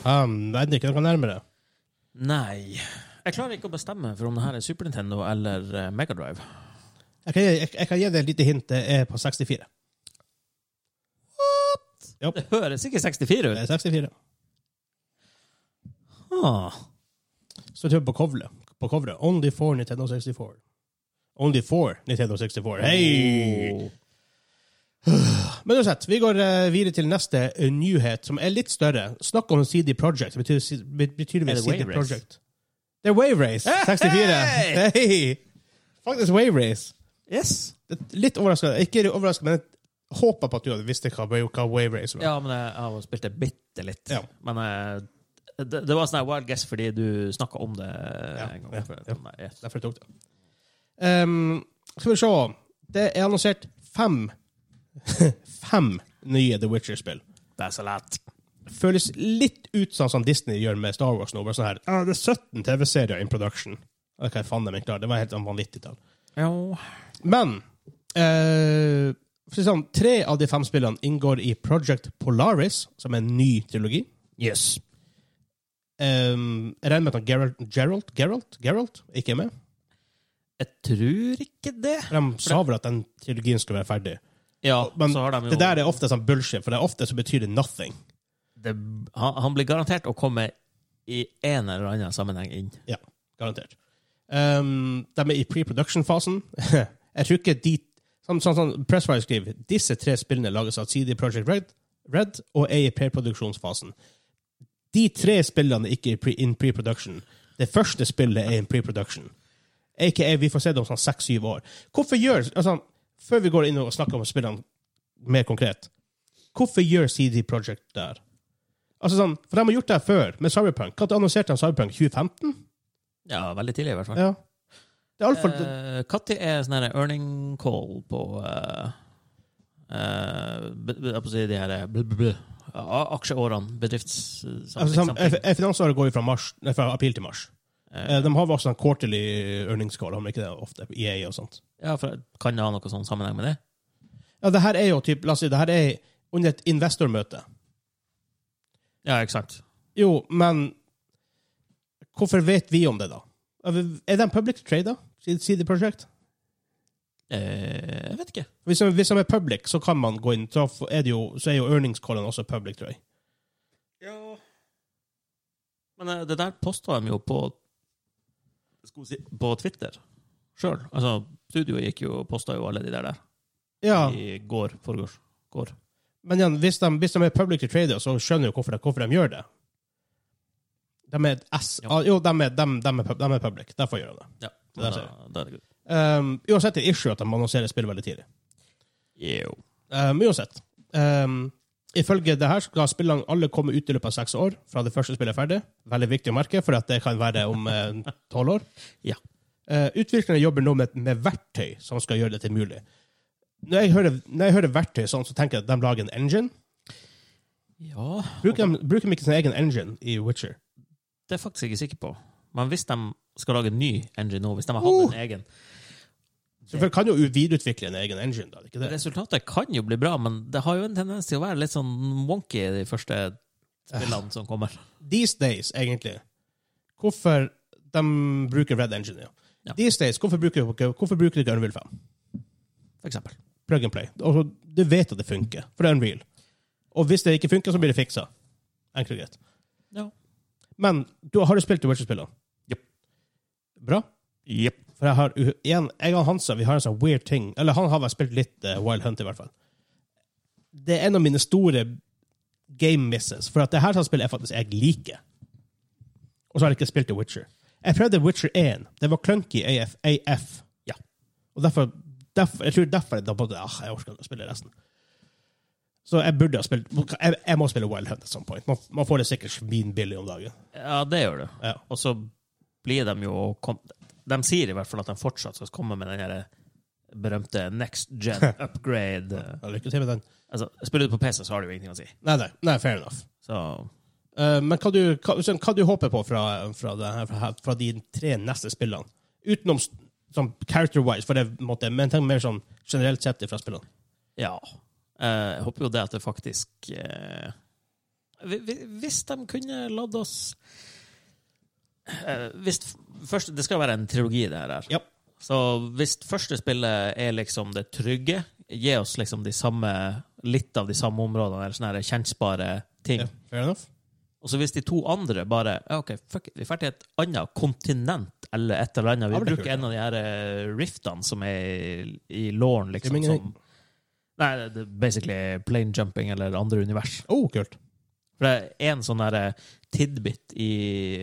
Um, det er ikke noe nærmere.
Nei. Jeg klarer ikke å bestemme for om det her er Super Nintendo eller eh, Mega Drive.
Jeg kan, gi- jeg, jeg kan gi deg et lite hint. Det er på 64.
Det høres ikke 64
Det
ut.
er 64.
Ah.
Så tror jeg på coveret. På coveret. Only for Nintendo 64. Only for Nintendo 64. Hei!
Oh.
Men uansett, vi går eh, videre til neste eh, nyhet, som er litt større. Snakk om CD Projekt. Det betyr, si- be- betyr
Er
det
det
CD
Wave Race?
Projekt. Det er Wave Race 64.
Hey!
Hei! Faktisk Wave Race.
Yes.
Det er Litt overraskende. Ikke overraskende, men jeg håper på at du hadde visst hva, hva Wave Race var.
Ja, men jeg har spilt det bitte litt.
Ja.
Men eh, det, det var sånn her wild guess fordi du snakka om det
Ja,
en gang.
ja,
før.
ja.
Nei, yes.
Derfor jeg tok det. Ehm, skal vi se. Det er annonsert fem Fem nye The Witcher-spill.
Det er så lett.
Føles litt ut sånn som Disney gjør med Star Wars nå. Bare sånn her, ah, det er 17 TV-serier in production. Ok, faen, de er klar. Det var helt sånn vanvittig tall.
Jo.
Men eh, for å si sånn, tre av de fem spillene inngår i Project Polaris, som er en ny trilogi.
Yes.
Ehm, jeg regner med at Geralt, Geralt, Geralt, Geralt ikke er med.
Jeg tror ikke det.
For De sa vel at den trilogien skulle være ferdig.
Ja,
Men
så har de jo
Det der er ofte sånn bullshit, for det er ofte så betyr det nothing.
det, han, han blir garantert å komme i en eller annen sammenheng inn.
Garantert. Um, de er i pre-production-fasen. Jeg tror ikke de Sånn sånn, sånn Pressfire skriver disse tre spillene lages av CD Projekt Red, Red og er i pre-produksjonsfasen. De tre spillene er ikke i pre- in pre-production. Det første spillet er in pre-production. Aka vi får se det om sånn seks-syv år. Hvorfor gjør altså, Før vi går inn og snakker om spillene mer konkret, hvorfor gjør CD Projekt der? Altså sånn, For de har gjort det her før, med Cyberpunk. Når annonserte de Cyberpunk? 2015?
Ja, veldig tidlig, i hvert fall.
Ja. Det er altfor
Eh, Katti er sånn her earning call på eh, eh, be- be- Jeg holdt på å si de her eh, bl- bl- bl- a- aksjeårene, bedrifts... sånn,
altså, sam- eh, Finansåret går jo fra, mars, nei, fra april til mars. Eh, De har vel også en quarterly earnings call, har de ikke det ofte? EA og sånt.
Ja, for, kan det ha noe sånn sammenheng med det?
Ja, det her er jo typ, la oss si, det her er under et investormøte.
Ja, ikke sant.
Jo, men hvorfor vet vi om det, da? Er de public trade, da? CD Projekt?
Eh, jeg vet ikke.
Hvis de, hvis de er public, så kan man gå inn. Så er, det jo, så er jo earnings callen også public, tror jeg.
Men eh, det der posta de jo på skal vi si, på Twitter sjøl. Altså, studioet gikk jo og posta jo alle de der der
Ja,
i går, forgårs. Går.
Men igjen, hvis de, hvis de er public trader, så skjønner du hvorfor de, hvorfor de gjør det. De er et S...
Ja.
Ah, Jo, de er, de, de, er, pub- de er public. Derfor gjør de det.
Ja,
Det der
da,
ser
da er det good.
Um, uansett er det issue at de annonserer spill veldig tidlig.
Jo.
Um, uansett. Um, ifølge det her skal spillene alle komme ut i løpet av seks år fra det første spillet er ferdig. Veldig viktig å merke, for at det kan være om eh, tolv år.
Ja.
Eh, utviklerne jobber nå med, med verktøy som skal gjøre dette mulig. Når jeg hører, når jeg hører verktøy sånn, så tenker jeg at de lager en engine.
Ja
Bruker de, bruker de ikke sin egen engine i Witcher?
Det er jeg faktisk ikke sikker på. Men hvis de skal lage en ny engine nå, hvis de har hatt
Oh!
en egen
Så for kan jo videreutvikle en egen engine, da. ikke det?
Resultatet kan jo bli bra, men det har jo en tendens til å være litt sånn wonky i de første spillene som kommer.
These days, egentlig. Hvorfor de bruker Red Engine, ja.
Ja.
These days, hvorfor bruker, dere- hvorfor bruker dere Unreal 5?
for eksempel.
Plug and play. Altså, du vet at det funker, for det er Unreal. Og hvis det ikke funker, så blir det fiksa. Enkelt og greit.
Ja.
Men du, har du spilt The Witcher-spillene?
Japp.
Bra.
Jepp.
For jeg har u- igjen, jeg og Hansa vi har en sånn weird ting Eller han har vel spilt litt eh, Wild Hunt, i hvert fall. Det er en av mine store game misses. For at det her sånn spillet er faktisk jeg liker. Og så har jeg ikke spilt The Witcher. Jeg prøvde Witcher 1. Det var clunky AF. AF.
Ja.
Og derfor, derfor Jeg tror derfor jeg da bare ah, Jeg orker ikke å spille resten. Så jeg burde ha spilt Jeg, jeg må spille Wild Hunt at some point. Man, man får det sikkert svinbillig om dagen.
Ja, det gjør du.
Ja.
Og så blir de jo kom, De sier i hvert fall at de fortsatt skal komme med den her eh, berømte next gen upgrade. eh.
Ja, Lykke til med den.
altså, spiller du på PC, så har du jo ingenting å si.
Nei, nei, nei fair enough.
Så
Eh, men hva du, hva, sånn, hva du håper på fra, fra, det her, fra, fra de tre neste spillene? Utenom s- sånn character-wise, for det er på en måte, men tenk mer sånn generelt sett fra spillene.
ja. Eh, Jeg håper jo det at det faktisk eh, hvi- hvi- Hvis de kunne latt oss eh, hvis, først, Det skal være en trilogi, det her.
Ja.
Så hvis første spillet er liksom det trygge, gi oss liksom de samme, litt av de samme områdene, eller sånne her kjensbare ting.
Ja, fair enough.
Og så hvis de to andre bare ja, OK, fuck it, vi drar til et annet kontinent eller et eller annet.
Ja,
Vi
men det
bruker
tror jeg.
en av de her eh, riftene som er i- i lawn, liksom.
Det er ingen-
Som, nei, det er basically plane jumping eller andre univers.
Oh, kult.
For det er en sånn der eh, tidbit i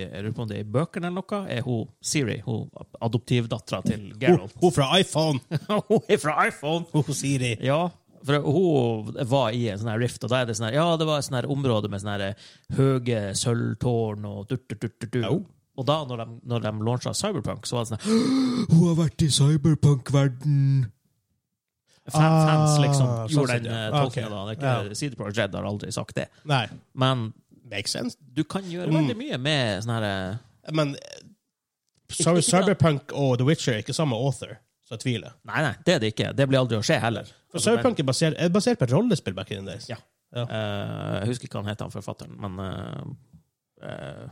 jeg lurer på om det er i bøkene eller noe, er hun Siri, hun adoptivdattera til
Hun,
Geralt.
hun fra iPhone!
Hun er fra iPhone!
Hun Siri.
Ja, for hun var i en sånn her rift, og da er det sånn her, ja, det var et sånn her område med sånn her høye sølvtårn og dut, dut, dut, dut, dut.
Jo.
Og da, når de, når de launcha Cyberpunk, så var det sånn her, Hun har vært i Cyberpunk-verden! Fan,
Ah,
fans liksom
sånn
gjorde
sett,
den
ja.
eh,
Ok,
tolkningen da. Det er
ja.
ikke, CD Projekt Red har aldri sagt det.
Nei,
Men
makes sense.
du kan gjøre
Mm.
veldig mye med sånn her eh,
Men eh, Cy-
ikke bra.
Cyberpunk og The Witcher er ikke samme author, så jeg tviler.
Nei, nei, det er det ikke. Det blir aldri å skje heller.
For
Altså, men-
Cyberpunk er basert, er basert på et rollespill back in the days.
Ja. Eh, jeg husker ikke hva han het, han forfatteren, men eh, eh,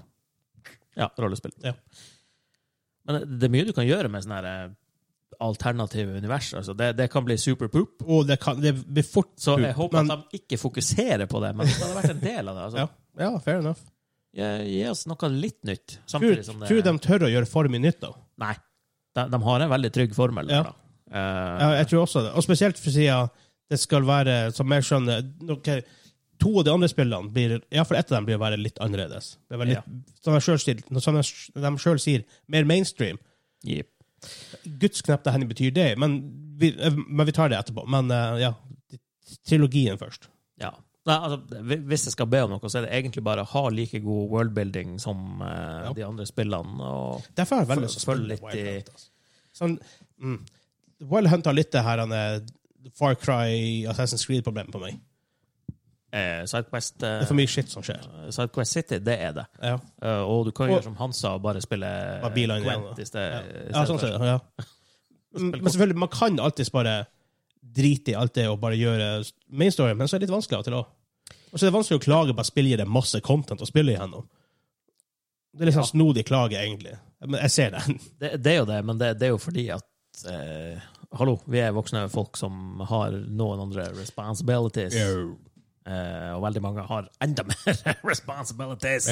Ja, rollespill.
Ja.
Men det er mye du kan gjøre med sånne her, eh, alternative univers. Altså, det, det kan bli superpoop.
Og det, kan, det blir fort
Så jeg
poop,
håper
men-
at de ikke fokuserer på det, men det hadde vært en del av det. Altså.
Ja, ja fair enough.
Gi- Gi oss noe litt nytt.
Tror,
Samtidig som det
tror de tør å gjøre for mye nytt, da.
Nei. De, de har en veldig trygg formel.
Ja.
Der, da. Eh,
Ja, jeg tror også det. Og spesielt for siden det skal være, som jeg skjønner noe- To av de andre spillene blir ja, for ett av dem blir å være litt annerledes. Det er vel litt, Som jeg selv sier, som jeg, de selv sier, mer mainstream.
Jepp.
Guds knapt det henne betyr det, men vi, eh, men vi tar det etterpå. Men eh, ja, trilogien først.
Ja. Nei, altså, hvi- hvis jeg skal be om noe, så er det egentlig bare å ha like god worldbuilding som eh,
Ja.
de andre spillene. Og
Derfor har jeg veldig
Følg-
lyst til å spille
følg litt
Wild
i-
Hunt. Altså. Sånn, mm, Wild Hunt har litt det her han, eh, Far Cry, Assassin's Creed-problemet på meg.
eh, Sidequest, eh,
Det er for mye shit som skjer.
Sidequest City, det er det.
Ja,
Eh, og du kan
Og-
gjøre som Hansa og bare spille
Bare bilene igjen,
Gwent
da.
i sted.
ja. ja
i stedet
sånn
for-
ser det. Ja. Mm, Men selvfølgelig, man kan alltids bare drite i alt det og bare gjøre main story, men så er det litt vanskelig av og til òg. Og så er det vanskelig å klage på at spillet gir deg masse content å spille igjennom. Det er litt sånn snodig klage, egentlig. Men jeg ser den.
det, det er jo det, men det, det er jo fordi at eh, Hallo, vi er voksne folk som har noen andre responsibilities. Eh, og veldig mange har enda mer responsibilities.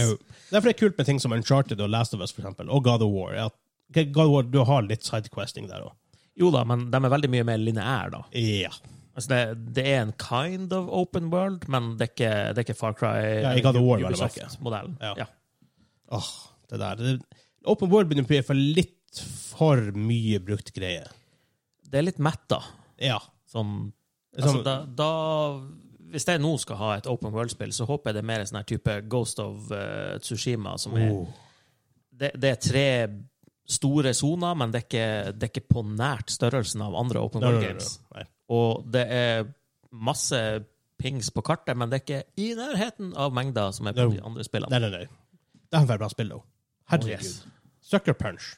Derfor er det kult med ting som Uncharted og Last of Us, for eksempel, og God of War. Ja, ok, God of War, du har litt sidequesting der òg.
Jo da, men de er veldig mye mer lineære, da.
Ja.
Altså det, det er en kind of open world, men det er ikke, det er ikke Far Cry
Ja, i God of War, vel å merke.
Ubisoft-modellen.
Ja.
Ja.
Åh, det der. Det, open World begynner å bli for litt for mye brukt greie.
Det er litt metta.
Ja.
Sånn,
Det er
altså
sånn-
da, da, hvis jeg nå skal ha et open world-spill, så håper jeg det er mer en sånn her type Ghost of eh, Tsushima. Som er,
Oh.
det, det er tre store soner, men det er, ikke, det er ikke på nært størrelsen av andre open
Nei, nei,
world
nei,
games.
nei.
Og det er masse pings på kartet, men det er ikke i nærheten av mengder som er på
No.
de andre spillene.
Nei, nei, nei. Det har vært bra spill, da.
Oh,
Herregud.
yes.
Sucker Punch.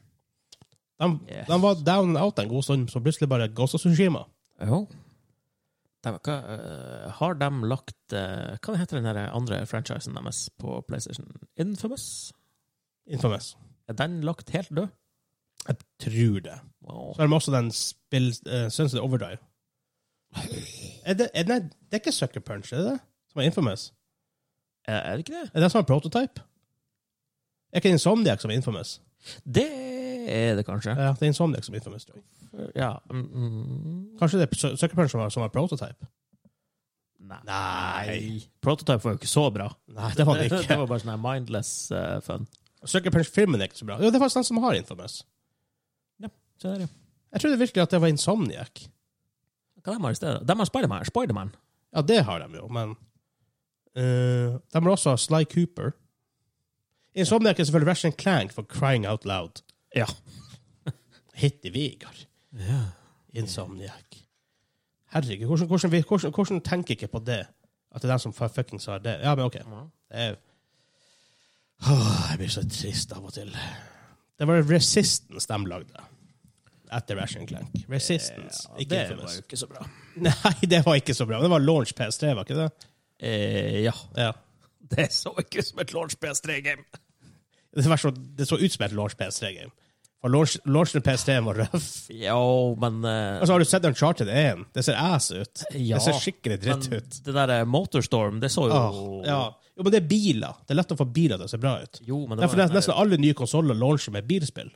De,
Yes.
de var down and out en god stund, så plutselig bare Ghost of Tsushima.
Jo. De, hva, eh, har de lagt eh, Hva heter den der andre franchisen deres på PlayStation? Infamous?
Infamous.
Er den lagt helt død?
Jeg tror det.
Wow.
Så har de også den spill, uh, Sunset Overdrive. Er det, er det, det er ikke Sucker Punch, er det det? Som er infamous?
Er, er det ikke det?
Er det som er prototype? Er ikke Insomniac som er infamous?
Det er det kanskje.
Ja, det er Insomniac som er infamous. Tror jeg.
Ja. mm, mm.
Kanskje det er Su- Sucker Punch som er, som er prototype?
Nei.
Nei.
Prototype var jo ikke så bra.
Nei, det var det
det
ikke.
var bare sånn her mindless eh, fun.
Sucker Punch-filmen er ikke så bra. Jo, det er faktisk den som har infamous.
Så er det.
Jeg trodde virkelig at det var Insomniac.
Hva de har i stedet? De har Spiderman. Spiderman.
Ja, det har de jo, men eh, De har også Sly Cooper. Insomniac er selvfølgelig Ratchet Clank for crying out loud.
Ja.
Hit i Vegard.
ja.
Insomniac. Herregud, hvordan, hvordan, vi- hvordan, hvordan tenker ikke på det? At det er den som fuckings har det? Ja, men OK. Det er, Åh, jeg blir så trist av og til. Det var Resistance de lagde. Etter Ratchet Clank. Resistance.
Ja,
ikke
det var
Infamous.
jo ikke så bra.
Nei, det var ikke så bra. Det var launch PS3, var ikke det?
Eh, ja.
Ja.
Det så ikke ut som et launch PS3-game.
Det, var så, det så ut som et launch PS3-game. For launch, launchen PS3 var røff.
Jo, men eh,
Og så har du sett Uncharted 1. Det ser ass ut.
Ja,
det ser skikkelig dritt
men
ut.
Det der eh, Motorstorm, det så jo
Åh, ja. Jo, men det er biler. Det er lett å få biler til å se bra ut.
Jo, men det
Derfor
var eh,
er nesten alle nye konsoller launcher med bilspill.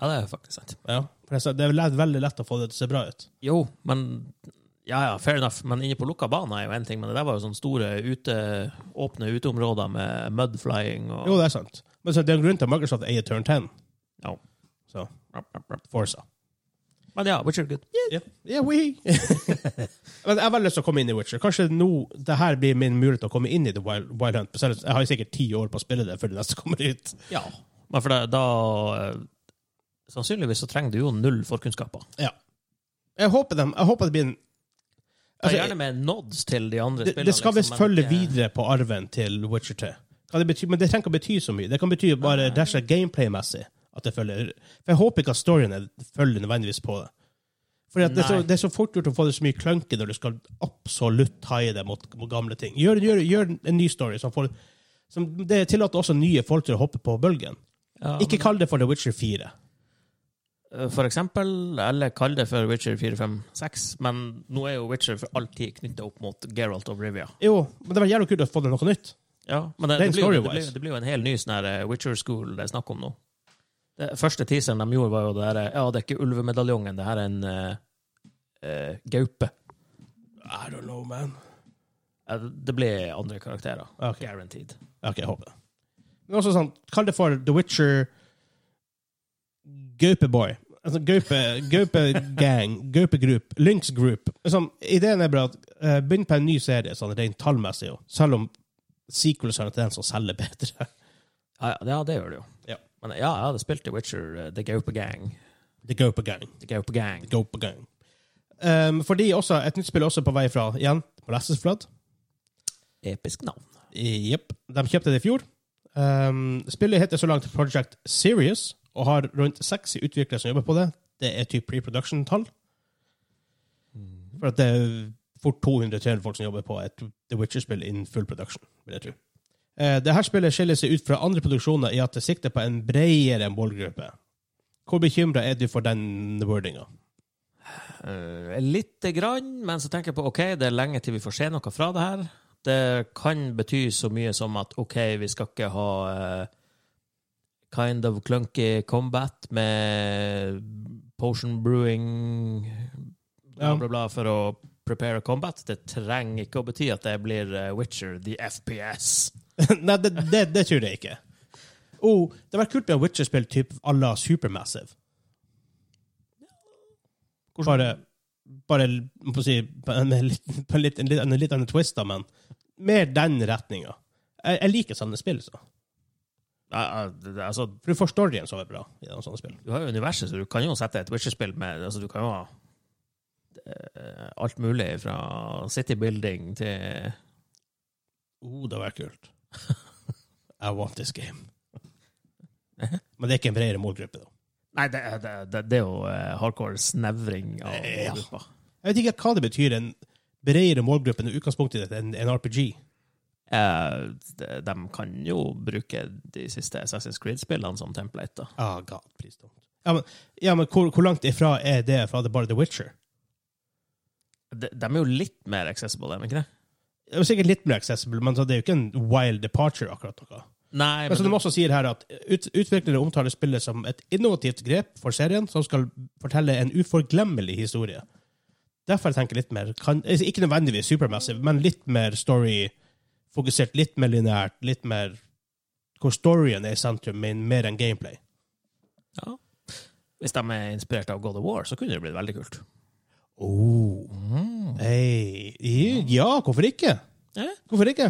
Ja, det er faktisk sant.
Ja. For det er så- det er lett- veldig lett å få det til å se bra ut.
Jo, men Ja, ja, fair enough. Men inne på lukka bane er jo én ting, men det der var jo sånne store ute, åpne uteområder med mudflying og
Jo, det er sant. Men så, det er en grunn til at Microsoft eier Turn 10.
Ja.
Så,
Rap, rap, rap.
Forza.
Men ja, Witcher good. Yeah.
Yeah, we. Men jeg har veldig lyst til å komme inn i Witcher. Kanskje nå, det her blir min mulighet til å komme inn i The Wild, Wild Hunt. Selv om Jeg har jo sikkert ti år på å spille det før det neste kommer ut.
Ja. Men for da, da eh, Sannsynligvis så trenger du jo null forkunnskaper.
Ja. Jeg håper, dem, jeg håper det blir en
Ta
altså,
gjerne med nods til de andre
det,
spillene.
det skal visst
liksom, men
følge
ikke-
videre på arven til Witcher 3. Kan det bety, men det trenger ikke å bety så mye. Det kan bety bare dasha gameplay-messig. at det følger. For Jeg håper ikke at storyen er- følger nødvendigvis på det. For at det, er så,
Nei.
det er så fort gjort å få det så mye klønke når du skal absolutt taie det mot, mot gamle ting. Gjør, gjør, gjør en ny story som får som Det tillater også nye folk til å hoppe på bølgen.
Ja,
Ikke kall det for The Witcher 4.
Eh, For eksempel, eller kall det for Witcher 4, 5, 6, men nå er jo Witcher for alltid knytta opp mot Geralt og Rivia.
Jo, men det var jævlig kult å få det noe nytt.
Ja, men det,
Det er
det,
en
blir, jo- det,
story-wise.
blir, det blir jo en hel ny sånn her eh, Witcher School det er snakk om nå. Det første teaseren de gjorde, var jo det her eh, Ja, det er ikke ulvemedaljongen, det her er en eh, eh, gaupe.
I don't know, man.
Ja, det- det blir andre karakterer.
Ok.
Guaranteed.
Ok, jeg håper det. Men også sånn, kall det for The Witcher Gaupeboy. Altså gaupe, gaupe gang, gaupe group, lynx group. Sånn, ideen er bra at eh, begynn på en ny serie, sånn rent tallmessig, jo. selv om sequels er den som selger bedre.
Ja, ja, ja, det gjør det jo.
Ja.
Men ja, jeg hadde spilt The Witcher, eh, The Gaupe Gang.
The Gaupe gang.
The Gaupe Gang.
Gaupe gang. Um, fordi også, et nytt spill er også på vei fra, igjen, Molasses
Episk navn.
Jepp. De kjøpte det i fjor. Um, spillet heter så langt Project Serious og har rundt 60 utviklere som jobber på det. Det er typ pre-production-tall. For at det er fort 200-300 folk som jobber på et The Witcher-spill innen full production, vil jeg tro. Uh, Dette spillet skiller seg ut fra andre produksjoner i at det sikter på en bredere målgruppe. Hvor bekymra er du for den wordinga?
Uh, Lite grann, men så tenker jeg på ok, det er lenge til vi får se noe fra det her. Det kan bety så mye som at ok, vi skal ikke ha eh, kind of clunky combat med potion brewing, bla,
Ja.
bla, bla, for å prepare combat. Det trenger ikke å bety at det blir eh, Witcher the FPS.
Nei, det, det, det tror jeg ikke. Oh, det hadde vært kult med et Witcher-spill typ à la Supermassive. Bare, bare må på å si, på en liten, på en litt, en litt, en litt annen twist, da, men mer den retninga. Jeg, jeg liker sånne spill, så.
Ja, ja, det- det- altså,
for du får storyen så bra i noen sånne spill.
du har jo universet, så du kan jo sette et Witcher-spill med altså Du kan jo ha eh, alt mulig fra citybuilding til
Oh, det hadde vært kult. I want this game. Men det er ikke en bredere målgruppe, da.
Nei, det, det, det, det er jo eh, hardcore snevring av
Eh, Ja.
gruppa.
Jeg vet ikke hva det betyr, en bredere målgruppe enn utgangspunktet i en, en RPG.
Eh, de, de kan jo bruke de siste Assassin's Creed-spillene som template. da.
Ah, God, please don't. Ja, men, ja, men hvor, hvor langt ifra er det fra det bare The Witcher?
De, de er jo litt mer accessible, er de ikke det?
Det er jo sikkert litt mer accessible, men så det er jo ikke en wild departure. akkurat noe.
Nei,
Men som de også sier her, at ut, utviklere omtaler spillet som et innovativt grep for serien som skal fortelle en uforglemmelig historie. Derfor tenker jeg litt mer kan, altså, Ikke nødvendigvis supermassive, men litt mer story-fokusert, litt mer lineært, litt mer hvor storyen er i sentrum, men mer enn gameplay.
ja. Hvis de er inspirert av God of War, så kunne det blitt veldig kult.
Oh. Hey. Ja, hvorfor ikke?
Ja.
Hvorfor ikke?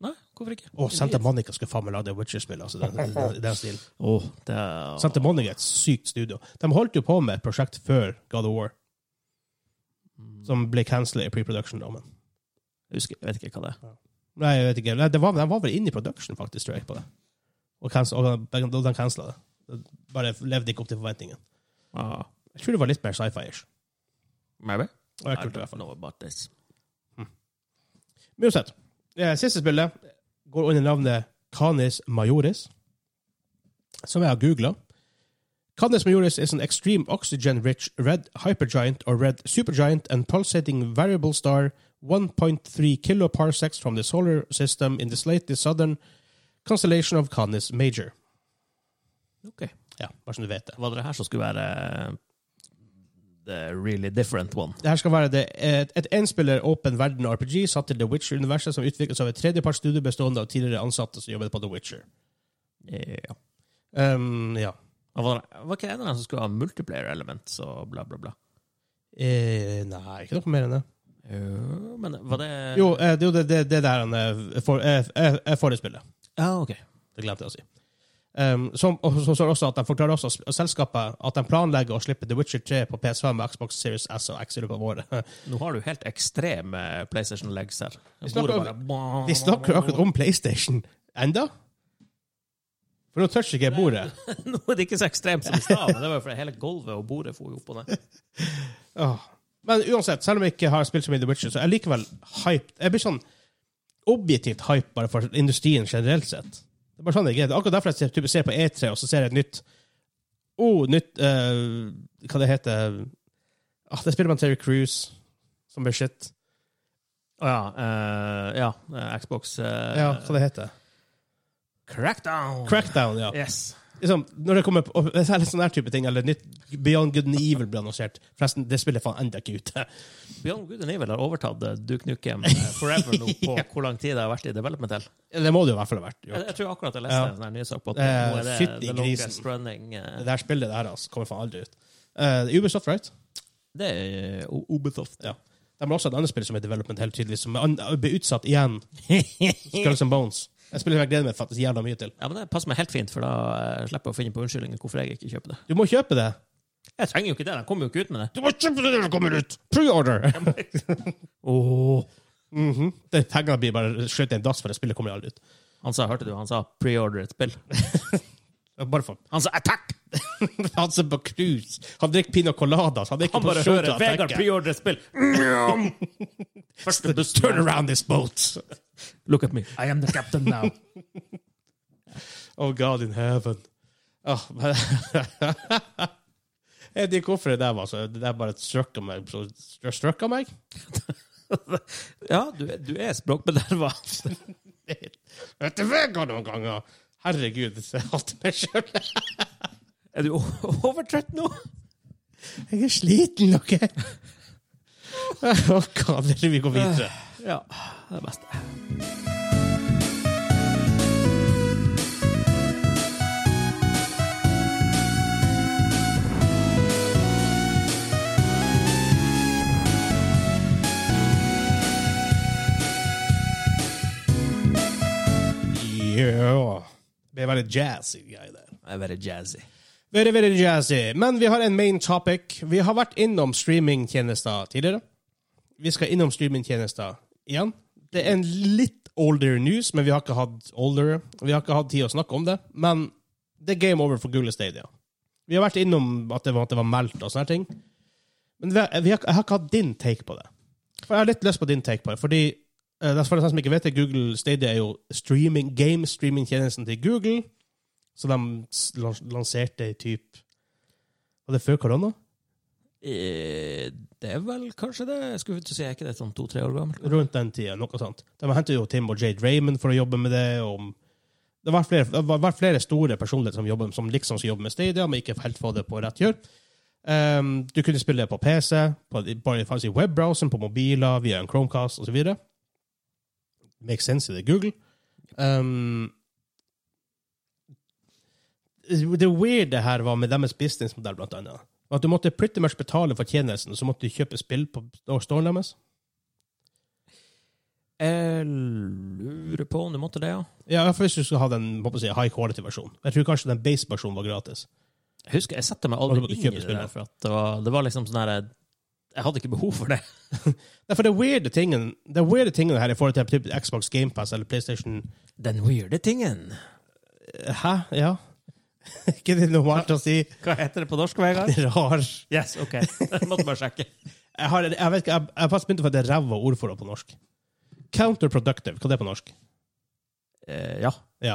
Nei, hvorfor ikke?
Å, Santa Monica skal faen meg lage Witcher-spill, altså. Den, den, den, den stilen.
Åh, det er...
Santa Monica er et sykt studio. De holdt jo på med et prosjekt før God of War, som ble cancela i pre-production. da, men-
Mm, Jeg husker, jeg vet ikke hva det er.
Nei, jeg vet ikke. Nei, det var, de var vel inne i production, faktisk, tror jeg, på det. Og, cancel, og de, de cancela det. Det Bare levde ikke opp til forventningen.
Ah.
Jeg tror det var litt mer sci-fi-ish.
Maybe?
Og jeg kult i hvert fall.
know about this.
Men uansett. eh, Siste spillet går under navnet Canis Majoris, som jeg har googla. Canis Majoris is an extreme oxygen-rich red hypergiant or red supergiant and pulsating variable star 1.3 kiloparsecs from the solar system in the slightly southern constellation of Canis Major.
Ok.
Ja, bare så du vet det.
Var det det her som skulle være eh, the really different one?
Det her skal være det, et, et enspiller åpen verden RPG satt til The Witcher-universet, som utvikles av et tredjepartsstudio bestående av tidligere ansatte som jobber på The Witcher.
Ja.
Um, ja.
Og Var, det, var ikke det en av dem som skulle ha multiplayer elements og bla, bla, bla?
Eh, nei, ikke noe mer enn det.
Jo, men var det
Jo, eh, det er jo det, det, det der han eh, for, eh, eh, eh, forespillet.
Ja, ok.
Det glemte jeg å si. Um, som, og så står det også at de forklarer også s- selskapet at de planlegger å slippe The Witcher 3 på PS5 og Xbox Series S og X i løpet av året.
Nå har du helt ekstreme PlayStation legs her.
snakker
Bordet bare-
De snakker akkurat om PlayStation. Enda? For nå toucher ikke jeg bordet.
Nå er det ikke så ekstremt som i stad, men det var jo fordi hele gulvet og bordet for jo opp og ned.
Åh. Men uansett, selv om jeg ikke har spilt så mye The Witcher, så er jeg likevel hyped. Jeg blir sånn objektivt hyped bare for industrien generelt sett. Det er bare sånn det er. Det er Akkurat derfor jeg ser- typ, ser på E3, og så ser jeg et nytt oh, nytt eh, Hva det heter ah, Det spiller man Terry Cruise, som blir shit.
Å ja. eh, ja. eh, Xbox uh,
Ja, hva det heter
Crackdown!
Crackdown, ja.
Yes.
Liksom, når det kommer på, Særlig sånne her type ting, eller nytt Beyond Good and Evil blir annonsert. Forresten, det spiller faen enda ikke ute.
Beyond Good and Evil har overtatt eh, Duke Nukem eh, Forever nå på hvor lang tid det har vært i development til.
Det må det jo i hvert fall ha vært. Jo.
Jeg, jeg tror akkurat jeg leste
Ja.
en sånn her nyhetssak på at
Eh,
nå er det
fytti
the
grisen.
longest running eh,
Det her spillet det her, altså, kommer faen aldri ut. Eh, Ubisoft, right?
Det er eh, O- Ubisoft.
Ja. De har også et annet spill som er development, helt tydelig, som er an- blir utsatt igjen. Skulls and Bones. Jeg spiller jeg gleder meg faktisk jævla mye til.
Ja, men Det passer meg helt fint, for da eh, slipper jeg å finne på unnskyldninger hvorfor jeg ikke kjøper det.
Du må kjøpe det!
Jeg trenger jo ikke det, de kommer jo ikke ut med det.
Du må kjøpe det når det kommer ut! Pre-order!
Oh.
Mhm. Det Pengene blir bare skjøt i en dass, for det spillet kommer aldri ut.
Han sa, hørte du, han sa pre-order et spill.
Bare for
Han sa attack!
Han som på cruise, han drikker pina colada, så han er ikke
Han bare
posisjon til
hører
å
Vegard
tenke.
pre-order et spill. Første
Turn
bussen.
around this boat!
Look at me. I am the captain now.
Oh God in heaven. Åh, men Jeg vet ikke hvorfor det der var så Det der bare strøkka meg. Så, strøkka meg?
ja, du, er- du er språkbederva.
Vet du Vegard noen ganger? Herregud, jeg ser alltid meg sjøl.
Er du o- overtrøtt nå?
Jeg er sliten, OK? Å, God, vi går videre.
Ja, det er best.
Ja. Det ble veldig jazzy greie der.
Jeg er veldig jazzy.
Very, very jazzy. Men vi har en main topic. Vi har vært innom streamingtjenester tidligere. Vi skal innom streamingtjenester igjen. Det er en litt older news, men vi har ikke hatt older. Vi har ikke hatt tid å snakke om det. Men det er game over for Google Stadia. Vi har vært innom at det var, at det var meldt og sånne ting. Men vi har, vi har, jeg har ikke hatt din take på det. For Jeg har litt lyst på din take på det. Fordi eh, for de som ikke vet det, Google Stadia er jo streaming, game-streamingtjenesten til Google. Så de s- lans- lanserte i typ Var det før korona?
Eh, Det er vel kanskje det? Jeg skulle til å si, er ikke det sånn to-tre år gammelt?
Rundt den tida, noe sånt. De hentet jo Tim og Jade Raymond for å jobbe med det. Og det var flere, det var- var flere store personligheter som, jobber, som liksom skal jobbe med Stadia, men ikke helt få det på rett kjør. Ehm, du kunne spille det på PC, på, bare det fantes i webbrowseren, på mobiler, via en Chromecast osv. Makes sense i det Google. Ehm, det weird det her var med deres businessmodell, blant annet. At du måtte pretty much betale for tjenesten, så måtte du kjøpe spill på stolen deres.
Jeg lurer på om du måtte det, ja.
Ja, i hvert fall hvis du skal ha den må jeg si, high quality-versjonen. Jeg tror kanskje den base-versjonen var gratis.
Jeg husker, jeg setter meg
Og
aldri
du måtte
inn i
kjøpe
det
spillet.
der, for at det var, det var liksom sånn her Jeg hadde ikke behov for det.
Nei, for det weirde tingen, det weirde tingen her i forhold til typ, Xbox GamePass eller PlayStation
Den weirde tingen.
Hæ? Ja? ikke det normalt å si?
Hva heter det på norsk, Vegard?
Rar.
Yes, OK. Måtte bare sjekke.
Jeg, har, jeg vet ikke, jeg, jeg har faktisk begynt å få det ræva ord for det på norsk. Counterproductive, hva er det på norsk?
Eh, ja.
Ja,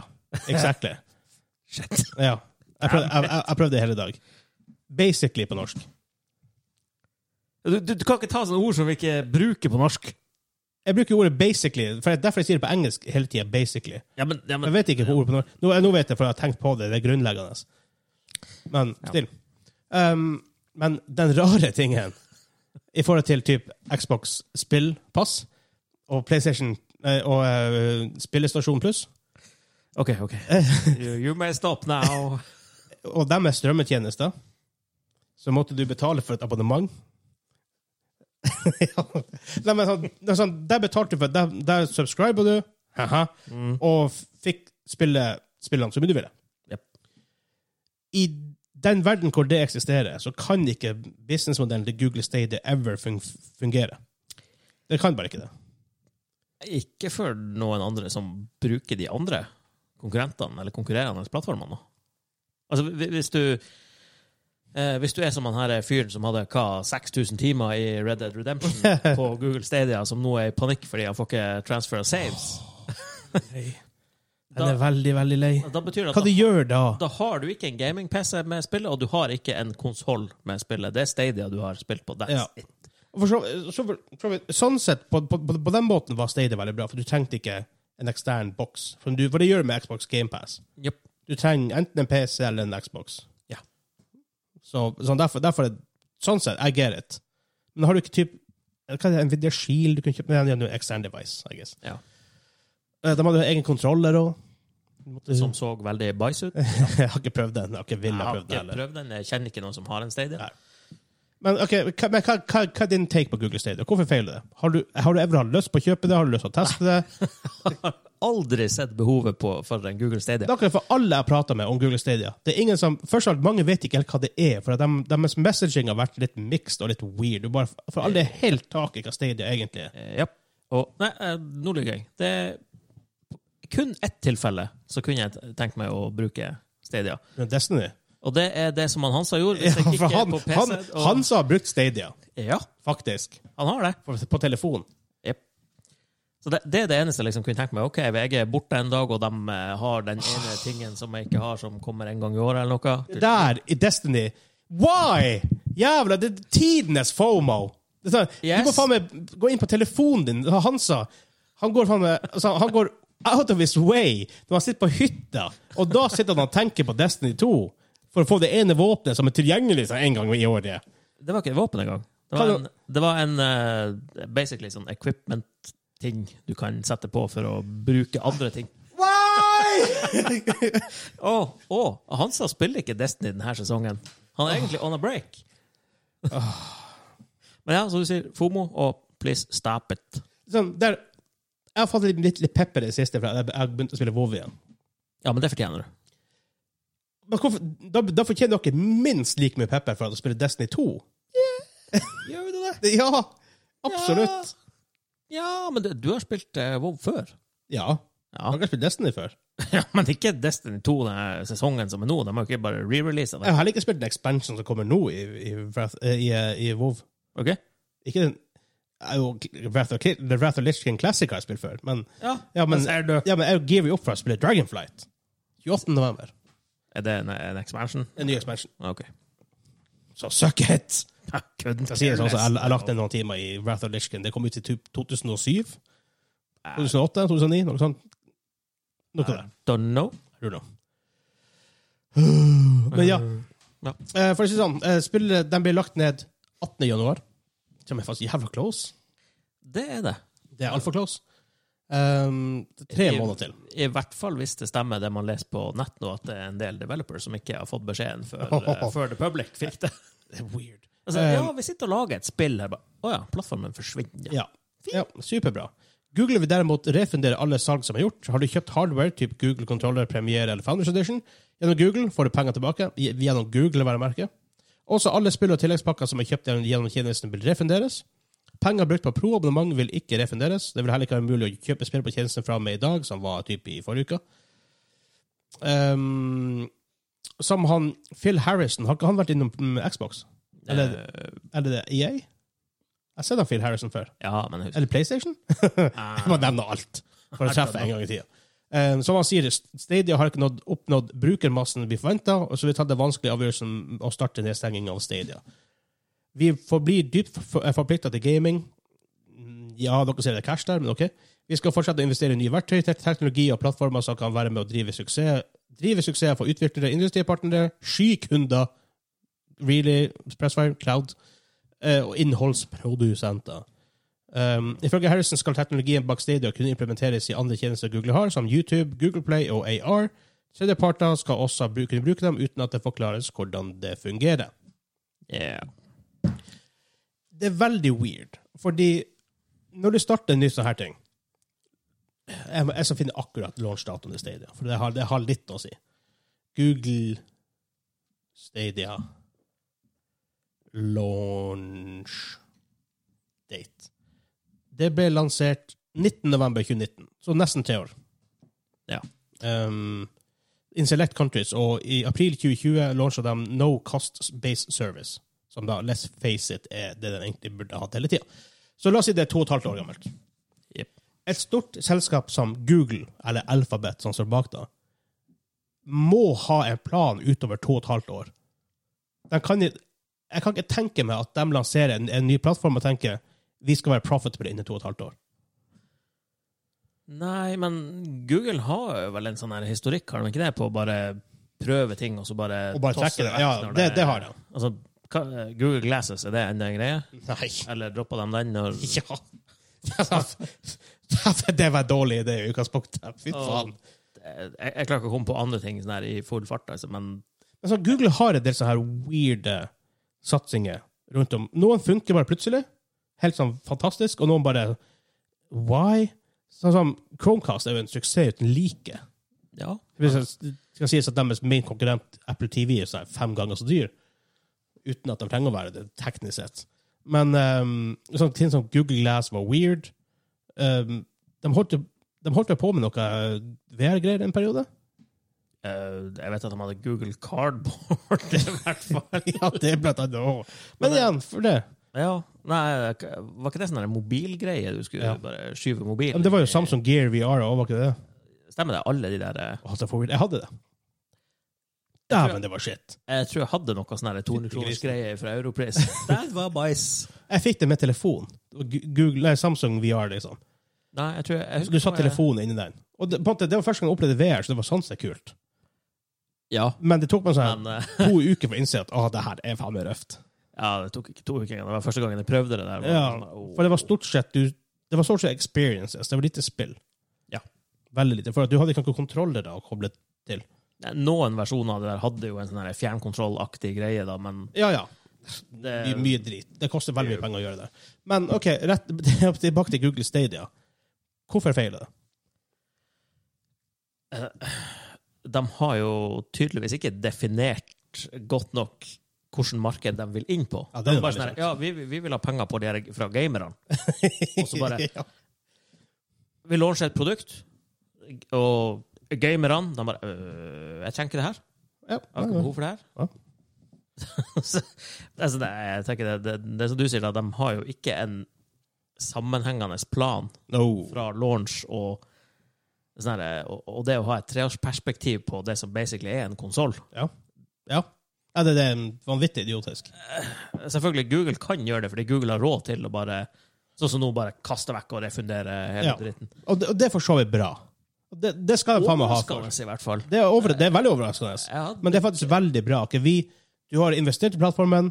exactly.
Shit.
Ja. Jeg prøvde, jeg, jeg, jeg prøvde det hele dag. Basically på norsk.
Du, du, du kan ikke ta sånne ord som vi ikke bruker på norsk.
Jeg bruker ordet 'basically', for det er derfor jeg sier det på engelsk hele tida. Basically.
Ja, men, ja,
Jeg
men
vet ikke hva ordet på norsk nå, nå vet jeg, for jeg har tenkt på det. Det er grunnleggende. Men
Ja.
still. Um, men den rare tingen i forhold til typ Xbox spillpass og PlayStation eh, og eh, Spillestasjon Pluss,
OK, OK. You, you may stop now.
og dem er strømmetjenester, så måtte du betale for et abonnement. ja. Nei, men sånn, det er sånn, der betalte du for, der, der subscriber du, haha,
Mm.
og fikk spille spillene som du ville.
Jep.
I den verden hvor det eksisterer, så kan ikke businessmodellen til Google Stadia ever fun fungere. Det kan bare ikke det.
Ikke for noen andre som bruker de andre konkurrentene eller konkurrerende plattformene. Altså, hvi- hvis du eh, Hvis du er som han her fyren som hadde hva, 6000 timer i Red Dead Redemption på Google Stadia, som nå er i panikk fordi han får ikke transfer of saves,
Den er veldig, veldig lei.
da betyr det
Hva
at
du gjør da?
da har du ikke en gaming-PC med spillet, og du har ikke en konsoll med spillet. Det er Stadia du har spilt på. That's
Ja.
it.
For så, så, så, sånn sett, på, på, på, på den måten var Stadia veldig bra, for du trengte ikke en ekstern boks. For, du- for det gjør du med Xbox GamePass.
Jep.
Du trenger enten en PC eller en Xbox.
Ja.
Så, sånn, derfor, derfor er- sånn sett, I get it. Men har du ikke typ, hva er det, Nvidia Shield, du kan kjøpe med en ekstern device, I guess.
Ja.
Eh, De hadde jo egen kontroller også. Du måtte-
Som så veldig bæsj ut.
Jeg har ikke prøvd den, jeg har ikke villet
Jeg har
prøve den
ikke
heller.
prøvd den. Jeg kjenner ikke noen som har en Stadia.
Nei. Men, ok, hva, men hva, hva, hva er din take på Google Stadia? Hvorfor feiler det? Har du, har du ever hatt lyst på å kjøpe det? Har du lyst til å teste det?
Aldri sett behovet på, for en Google Stadia.
Det er akkurat for alle jeg prater med om Google Stadia. Det er ingen som, først og fremst, Mange vet ikke helt hva det er, for at dem- deres messaging har vært litt mixed og litt weird. Du bare, for alle er helt tak i hva Stadia egentlig er.
Eh, ja. Og, nei, eh, nå lyver jeg. Det er kun ett tilfelle så kunne jeg tenkt meg å bruke Stadia.
Men Destiny.
Og det er det som han Hansa gjorde.
Ja,
Hvis jeg
for
kikker
han,
på PC
han,
og,
han som har brukt Stadia,
Ja,
faktisk,
han har det.
på, på telefon.
Jep. Så det, det er det eneste jeg liksom kunne tenkt meg. Ok, VG er borte en dag, og de eh, har den ene tingen som jeg ikke har, som kommer en gang i året, eller noe.
Der, i Destiny. Why?! Jævla, det er tidenes FOMO! Det er sånn,
Yes.
Du må faen meg gå inn på telefonen din. Det var Hansa han går faen meg altså, Han går out of his way når han sitter på hytta, og da sitter han og tenker på Destiny 2 for å få det ene våpenet som er tilgjengelig sånn, en gang i året.
Det var ikke et våpen engang. Det var
Hva da?
en, det var en eh, basically sånn equipment-ting du kan sette på for å bruke andre ting.
Why?!
Å, å, Hansa spiller ikke Destiny denne sesongen. Han er egentlig on a break. Men ja, som du sier, FOMO og please stop it.
sånn, der, jeg har fått litt, litt, litt pepper i det siste, for jeg jeg har begynt å spille WoW igjen.
Ja, men det fortjener du.
Men hvorfor, da, da fortjener dere minst like mye pepper for at dere spiller Destiny 2.
Gjør du det?
Ja! Absolutt.
Ja, men det, du har spilt eh, WoW før.
Ja.
Ja.
Har ikke spilt Destiny før.
ja, men ikke Destiny 2 denne sesongen som er nå. De har jo ikke bare re-releasa
Jeg
det.
har heller ikke spilt den expansion som kommer nå i, i, Wrath- eh, i, eh, i WoW.
Ok?
Ikke den jeg er jo Wrath of, Ki- The Wrath of Lich King Classic har jeg spilt før, men,
Ja, Altså,
ja, men,
er, det,
ja, men jeg gir jo opp for å spille Dragonflight. 28. november.
er det en, en expansion?
En ny expansion.
Ok.
Så suck it!
Kødden
Jeg sier det sånn, så jeg, jeg lagt ned noen timer i Wrath of Lishkin. Det kom ut i typ 2007? 2008? 2009? Noe sånt. Noe der.
Don't know.
I don't know. Men ja,
Ja.
eh, for å si det sånn, eh, spillet den ble lagt ned 18. januar. Som er faktisk jævla close.
Det er det.
Det er altfor close. Um, det er tre måneder til.
I hvert fall hvis det stemmer det man leser på nett nå, at det er en del developers som ikke har fått beskjeden før, eh, før the public fikk det.
Det er weird.
Altså, ja, vi sitter og lager et spill her. bare, Å ja, plattformen forsvinner.
Ja. ja superbra. Google vil derimot refundere alle salg som er gjort. Har du kjøpt hardware, typ Google Controller, Premiere eller Founders Edition, gjennom Google får du penger tilbake. i- Gjennom Google, være merke. Også alle spill og tilleggspakker som er kjøpt gjennom- gjennom tjenesten, vil refunderes. Penger brukt på pro-abonnement vil ikke refunderes. Det vil heller ikke være mulig å kjøpe spill på tjenesten fra og med i dag, som var typ i forrige uke. Ehm, som han Phil Harrison Har ikke han vært innom mm, Xbox? Eller,
Eh,
eller det EA? Jeg har sett han Phil Harrison før.
ja, men Ah, jeg husker
Eller PlayStation? Jeg må nevne alt for å treffe en gang i tida. Um, som han sier, Stadia har ikke nådd, oppnådd brukermassen vi forventa, og så vi tatt den vanskelige avgjørelsen å starte nedstenging av Stadia. Vi forblir dypt forplikta til gaming. Mm, Ja, dere ser det er cash der, men OK. Vi skal fortsette å investere i nye verktøy, tek- teknologi og plattformer som kan være med å drive suksess. Drive suksess for utviklere, industripartnere, skykunder, really, Pressfire, Cloud, eh, og innholdsprodusenter. Um, ifølge Harrison skal teknologien bak Stadia kunne implementeres i andre tjenester Google har, som YouTube, Google Play og AR. Tredjeparter skal også bru- kunne bruke dem uten at det forklares hvordan det fungerer.
Yeah.
Det er veldig weird, fordi når du starter en ny sånn her ting Jeg, må, jeg skal finne akkurat launchdatoen til Stadia, for det har, det har litt å si. Google Stadia launch date. Det ble lansert 19. november 2019, så nesten tre år.
Ja.
Um, in select countries, og i april 2020 launcha de No Cost Based Service, som da, let's face it, er det den egentlig burde hatt hele tida. Så la oss si det er to og et halvt år gammelt.
Jep.
Et stort selskap som Google, eller Alphabet, som står bak da, må ha en plan utover to og et halvt år. De kan, i- jeg kan ikke tenke meg at de lanserer en, en ny plattform og tenker vi skal være profitable innen to og et halvt år.
Nei, men Google har jo vel en sånn her historikk, har de ikke det, på å bare prøve ting, og så bare
Og bare
tosse
trekke det.
vekk
Ja,
når
det, det har de.
Altså, hva- Google Glasses, er det enda en greie?
Nei.
Eller droppa de den når
Ja. det var en dårlig idé i utgangspunktet. Fy faen.
jeg, jeg klarer ikke å komme på andre ting sånn her i full fart, altså, men
Men så Google har en del sånne her weirde satsinger rundt om. Noen funker bare plutselig, helt sånn fantastisk, og noen bare Why? Sånn som Chromecast er jo en suksess uten like.
ja.
Hvis Det skal sies at deres main konkurrent Apple TV er sånn fem ganger så dyr, uten at de trenger å være det, teknisk sett. Men ehm, sånn ting som Google Glass var weird. Ehm, de, holdt, jo- de holdt jo på med noe VR-greier en periode.
Eh, jeg vet at de hadde Google Cardboard, i hvert fall.
ja, det er blant annet også. Men igjen, for det.
Ja, nei, Var ikke det sånn her mobilgreie? Du skulle
Ja.
bare skyve mobilen
Men det var jo
i-
Samsung Gear VR òg, var ikke det?
Stemmer det? Alle de der eh,
Å, så for weird. Jeg hadde det. Dæven, det var shit.
Jeg tror jeg hadde noe sånn her 200 kroners greie fra Europris. Det var bæsj.
Jeg fikk det med telefon. Gu- Google, nei, Samsung VR, liksom.
Nei, jeg tror jeg, jeg
Så du satt telefonen inni den. Og det, på en måte, det var første gang jeg opplevde VR, så det var sånn sett kult.
Ja,
Men det tok meg sånn
men eh,
to uker for å innse at å, det her er faen meg røft.
ja, det tok ikke to uker engang. Det var første gangen jeg prøvde det der. Det var
Ja,
sånn her, åh.
For det var stort sett du, det var stort sett experiences. Det var lite spill.
Ja.
Veldig lite. For at du hadde ikke noen kontroller å koble til.
Nei, Noen versjoner av det der hadde jo en sånn her fjernkontrollaktig greie, da, men
Ja, ja.
det
Mye, mye drit. Det koster veldig mye penger å gjøre det. Men OK, rett, tilbake til Google Stadia. Hvorfor feiler det?
de har jo tydeligvis ikke definert godt nok hvilket marked de vil inn på.
Ja, det er
det er
jo
bare
veldig
sånn her,
sant.
ja, vi, vi vil ha penger på de her fra gamerne. Og så bare
ja.
Vi lanserer et produkt, og gamerne de bare øh, Jeg trenger ikke det her.
Ja,
Jeg har ikke behov for det her.
Ja.
Så- altså, det, jeg tenker det, det, det er som du sier, da, de har jo ikke en sammenhengende plan
No.
fra launch og sånn her, og, og det å ha et treårsperspektiv på det som basically er en konsoll.
Ja. ja. Ja, det, det er vanvittig idiotisk.
Selvfølgelig, Google kan gjøre det, fordi Google har råd til å bare Sånn som nå, bare kaste vekk og refundere hele
Ja.
dritten.
Og det, og det er for så vidt bra. Og Det, det skal jeg faen meg ha for.
Overraskende, i hvert fall.
Det er, over, det er veldig overraskende.
Ja,
Men det er faktisk veldig bra. Ikke? Vi, du har investert i plattformen,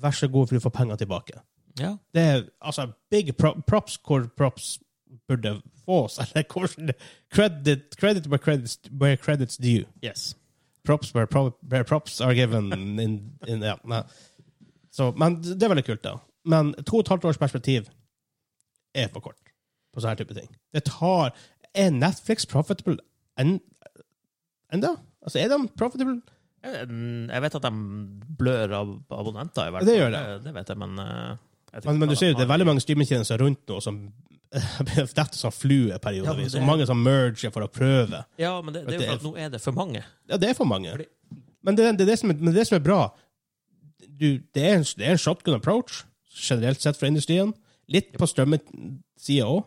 vær så god for du får penger tilbake.
ja.
Det er altså big pro props hvor props burde fås. Eller hvordan det- credit, credit where credits, where credits due.
Yes.
Props where, pro where props are given in, in ja, nei. Så, Men det er veldig kult, da. Men to og et halvt års perspektiv er for kort på sånne type ting. Det tar Er Netflix profitable en- enda? Altså, er de profitable?
Jeg jeg vet at de blør av abonnenter, i hvert fall.
Det gjør det.
Det vet jeg, men eh, jeg vet
Men,
ikke
men du
hva
ser jo
de
det er
har.
veldig mange streamingtjenester rundt nå som detter som fluer
Ja, men
periodevis.
det-
Og mange som merger for å prøve.
Ja, men det, det er jo for at nå er det for mange.
Ja, det er for mange.
Fordi-
Men det, det, er det, som, er- men det som er bra du, det, er en, det er en shotgun approach, generelt sett fra industrien. Litt på strømmesida òg.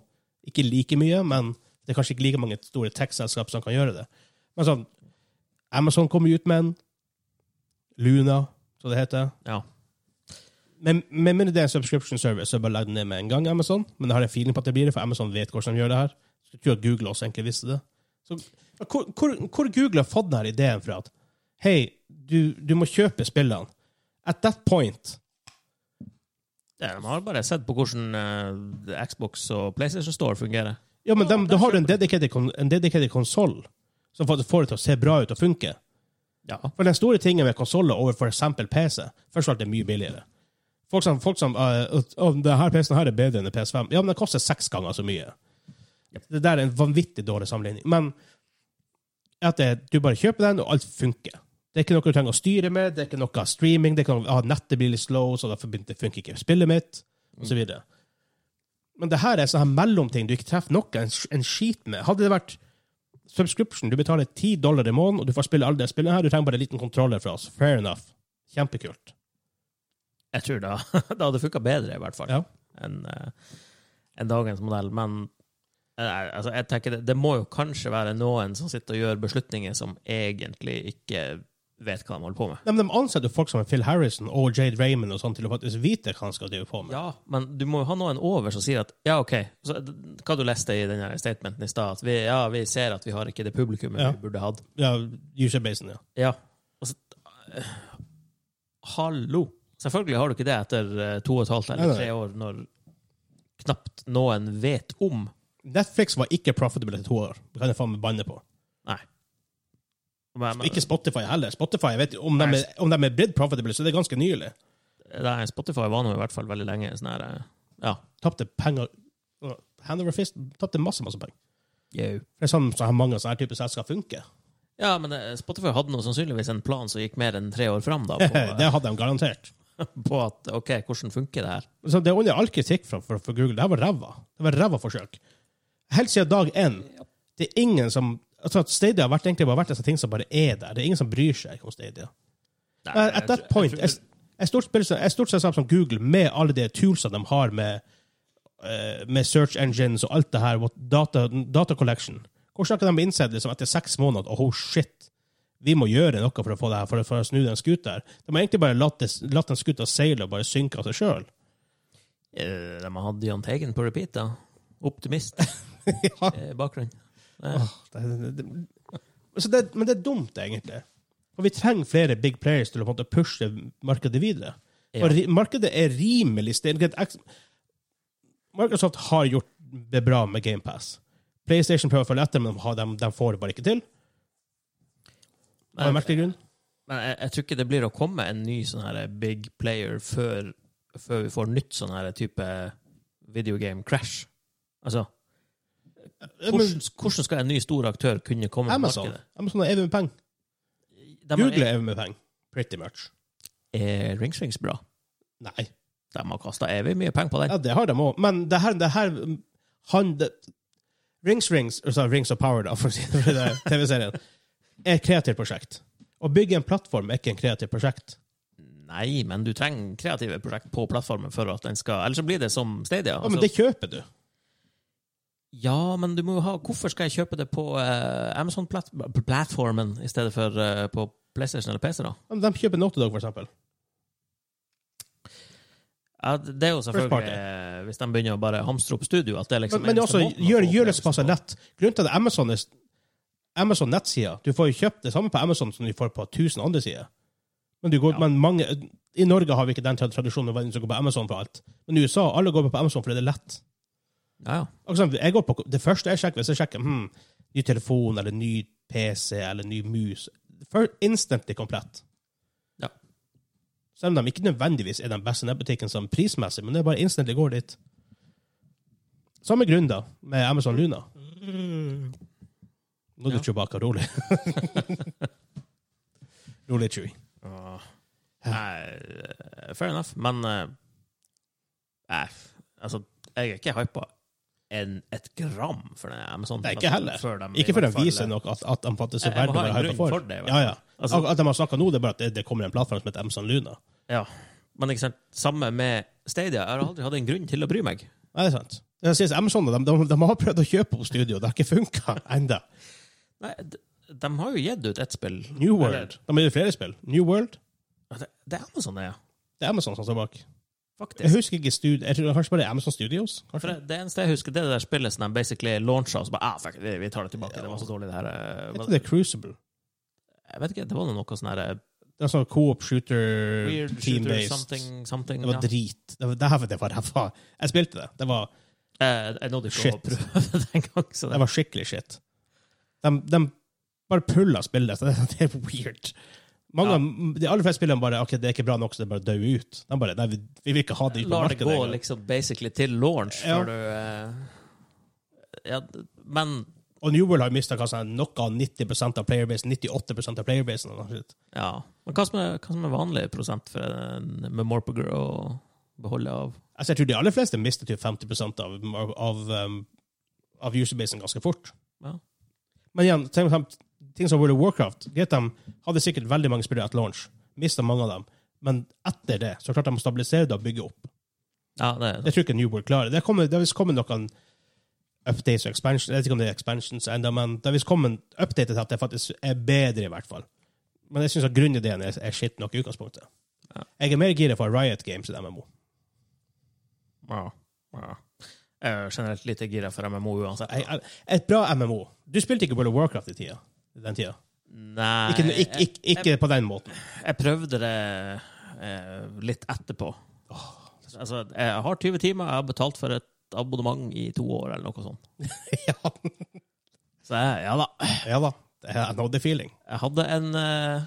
Ikke like mye, men det er kanskje ikke like mange store tech-selskap som kan gjøre det. Men sånn, Amazon kommer ut med en. Luna, som det heter.
Ja.
Men med mindre det er en subscription service, så bare legg den ned med en gang, Amazon. Men jeg har en feeling på at det blir det, for Amazon vet hvordan de gjør det her. Så jeg tror at Google også egentlig visste det. Så, hvor, hvor, hvor Google har fått denne ideen fra at hei, du, du må kjøpe spillene. At that point
Ja, De har bare sett på hvordan eh, Xbox og PlayStation Store fungerer.
Ja, men
Ja,
dem- da
der
har du en
kjøper
dedicated, kon- en dedicated konsoll som faktisk får det til å se bra ut og funke.
Ja.
For den store tingen med konsoller over for eksempel PC, først og fremst er det mye billigere. Folk som, folk som uh, denne PC-en her er bedre enn en PS5. Ja, men den koster seks ganger så mye. Det der er en vanvittig dårlig sammenligning. Men at det, du bare kjøper den, og alt funker. Det er ikke noe du trenger å styre med, det er ikke noe streaming, det er ikke noe, ah, nettet blir litt slow, så derfor begynte- funker ikke spillet mitt, og så videre. Men det her er sånne her mellomting du ikke treffer noe en, en skit med. Hadde det vært subscription. Du betaler 10 dollar i måneden, og du får spille alle de spillene her. Du trenger bare en liten kontroller fra oss. Fair enough. Kjempekult.
Jeg tror da det hadde funka bedre, i hvert fall,
Ja.
enn eh, enn dagens modell. Men eh, altså, jeg tenker det, det må jo kanskje være noen som sitter og gjør beslutninger som egentlig ikke vet hva de holder på med.
Nei, men de ansetter jo folk som Phil Harrison og Jade Raymond og sånn til å faktisk vite hva han skal drive på med.
Ja, men du må jo ha noen over som sier at ja, OK, så, d- hva du leste i den her statementen i stad, at vi, ja, vi ser at vi har ikke det publikummet
Ja.
vi burde hatt.
Ja, user-basen, ja.
Ja. Altså, eh, hallo! Selvfølgelig har du ikke det etter eh, to og et halvt
Nei,
eller
nei.
tre år, når knapt noen vet om
Netflix var ikke profitable etter to år. Det kan jeg faen meg banne på.
Nei. Men, men,
Ikke Spotify heller. Spotify, jeg vet jo, om de er, om de er blitt profitable, så det er ganske nylig.
nei, Spotify var nå i hvert fall veldig lenge sånn her eh, Ja.
Tapte penger Hand over fist. Tapte masse, masse penger.
Jau.
Det er sånn så her mange sånne her typer selskap funker.
Ja, men eh, Spotify hadde nå sannsynligvis en plan som gikk mer enn tre år fram, da, på,
Det hadde de garantert.
på at OK, hvordan funker det her?
Så det er under all kritikk fra, fra, fra Google. Det her var ræva. Det var ræva forsøk. Helt siden dag én. Det er ingen som altså at Stadia har vært, egentlig bare vært en sånn ting som bare er der. Det er ingen som bryr seg om Stadia.
Nei,
At
jeg
at that
tror- jeg
point
tror-
er er stort spill- er stort selskap som Google, med alle de toolsene de har med, eh, med search engines og alt det her, what- data, data collection Hvordan har ikke de innsett liksom, etter seks måneder at oh shit, vi må gjøre noe for å få det her, for, å- for å snu den skuta her? De har egentlig bare latt, det, latt den skuta seile og bare synke av seg sjøl.
Eh, De hadde Jahn Teigen på repeat, da. Optimist Eh,
ja.
i bakgrunnen.
Åh, det, det, det. Så det, men det er dumt, egentlig. For vi trenger flere big players til å på en måte pushe markedet videre.
Ja.
Og ri, markedet er rimelig stedet. Microsoft har gjort det bra med GamePass. PlayStation prøver å følge etter, men de, har- de, de får det bare ikke til. Av en
Men,
merkelig grunn.
men jeg, jeg tror ikke det blir å komme en ny sånn her big player før, før vi får nytt sånn her type videogame crash. Altså,
Men
hvordan, hvordan skal en ny stor aktør kunne komme på
Amazon
markedet?
Amazon er evig med penger.
De har-
Google er evig med penger. Pretty much.
Er Ringstrings bra?
Nei.
De har kasta evig mye penger på den.
Ja, det har de òg. Men det her, det her han, det, Rings Rings, altså Rings of Power, da, for å si det det er TV-serien, er et kreativt prosjekt. Å bygge en plattform er ikke en kreativt prosjekt.
Nei, men du trenger kreative prosjekt på plattformen for at den skal Ellers så blir det som Stadia.
Ja, men
altså.
det kjøper du.
Ja, men du må jo ha Hvorfor skal jeg kjøpe det på eh, Amazon-plattformen i stedet for eh, på PlayStation eller PC, da?
Men De kjøper Naughty Dog, for eksempel.
Ja, det er jo selvfølgelig eh, Hvis de begynner å bare hamstre opp studio at det er liksom
Men, men
eneste
også,
måten
gjør,
å få
gjør det
opplevelse
såpass
på.
lett. Grunnen til at Amazon er Amazon-nettsida Du får jo kjøpt det samme på Amazon som du får på 1000 andre sider. Men, du går,
Ja.
men mange, I Norge har vi ikke den tra- tradisjonen med hvem som går på Amazon for alt. Men i USA alle går på Amazon fordi det er lett.
Ja, ja.
Og for eksempel, jeg går på, det første jeg sjekker, hvis jeg sjekker hmm, ny telefon eller ny PC eller ny mus for Instantly komplett.
Ja.
Selv om de ikke nødvendigvis er den beste nettbutikken som prismessig, men det er bare instantly går dit. Samme grunn da, med Amazon Luna. Nå er du
Ja.
Chewbacca rolig. rolig, Chewie.
Ja. Nei, fair enough, men eh, Nei, f- altså, jeg er ikke hypa en, et gram for den Amazon.
Nei, ikke heller.
Før de,
Ikke for å vise
noe.
nok at, at de faktisk er
eh, Jeg- jeg må
verdt å
ha
være
en
hypa
grunn
for.
for det, i hvert
ja, ja.
Altså-
At de har snakket nå, det er bare at det, det kommer en plattform som heter Amazon Luna.
Ja. Men ikke sant, samme med Stadia. Jeg har aldri hatt en grunn til å bry meg.
Nei, det er sant. Jeg sier, Amazon de, de, de har prøvd å kjøpe opp studio, det har ikke funka ennå.
Nei, de, de har jo gitt ut ett spill.
New World. De har jo flere spill. New World.
Eller- Det, det er Amazon, det, ja.
Det er Amazon som står bak. Jeg
Faktisk.
husker ikke stud... Jeg tror kanskje bare det er Amazon Studios?
For
Kanskje?
det, det eneste jeg husker, det er det der spillet som de basically launcha, og så bare ah, fuck, it, vi, vi tar det tilbake. Det var så dårlig, det her. eh,
Jeg
men-
tror det er Crucible.
Jeg vet ikke, det var noe sånn her eh,
Det er sånn co-op shooter,
weird shooter
team-based.
something, something.
Det var
ja.
drit. Det var, det her- det var ræva. Jeg spilte det. Det var,
Eh, jeg nådde ikke å
Shit.
prøve det engang. så
det
det-
var skikkelig shit. De, de bare pulla spillet, så det, det er weird. Mange,
Ja.
av- De aller fleste spillene bare OK, det er ikke bra nok, så det bare dør ut. De bare Nei, vi, vi vil ikke ha det ut på
Lar det
markedet.
gå
engang.
liksom basically til launch
Ja.
før du eh, Ja, d- men
Og New World har mista noe av 90 av playerbasen. 98 av playerbasen. eller noe sånt.
ja. Men hva som er, hva som er vanlig prosent for en Memorpager å beholde av?
Altså, jeg tror de aller fleste mister typ 50 av, av, av, um, av userbasen ganske fort.
Ja.
Men igjen, tenk om ting som World of Warcraft greit, de hadde sikkert veldig mange spillere at launch. Mista mange av dem. Men etter det så klarte de å stabilisere det og bygge opp.
Ja, det er
Det tror jeg ikke New World klarer. Det, kommer, det har visst kommet noen updates og expansions. Jeg vet ikke om det er expansions enda, men det har visst kommet updater til at det faktisk er bedre, i hvert fall. Men jeg syns grunnideen er, er skitt nok i utgangspunktet.
Ja.
Jeg er mer gira for Riot Games enn MMO.
ja. Ja. Jeg er generelt lite gira for MMO uansett.
Jeg, jeg, et bra MMO Du spilte ikke World of Warcraft i tida, den tida.
Nei
Ikke, ikke, ikke, ikke på den måten.
Jeg, jeg prøvde det eh, litt etterpå. Altså, jeg har 20 timer, jeg har betalt for et abonnement i to år, eller noe sånt.
ja.
Så jeg, ja da.
ja da. I know the feeling.
Jeg hadde en, eh,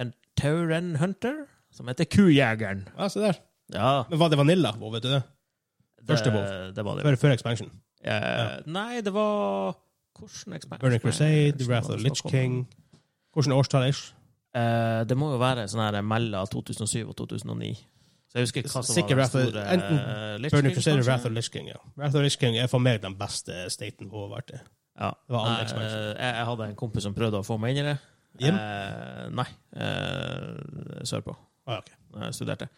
en Tauren Hunter som heter Kujegeren.
Ja, se der.
Ja,
Men var det Vanilla, WoW, vet du det?
det,
Første WoW.
det var det.
Før, før expansion.
Eh, Nei, det var Hvordan eksperiment?
Burning Crusade, Wrath of the Lich King Hvilket årstall er det?
Eh, det må jo være sånn her mellom 2007 og 2009. Så jeg husker ikke hva som
Sikkert
var
Wrath of-
store,
enten
eh, Lich
Burning
King,
Crusade og
kanskje?
Wrath of the Lich King, ja. Wrath of the Lich King er for meg den beste staten WoW har vært i.
Ja.
Det var andre
Nei,
expansion.
eh, jeg, jeg hadde en kompis som prøvde å få meg inn i det.
Hjem?
Eh, nei. eh, sørpå.
Ah, ok.
når jeg studerte.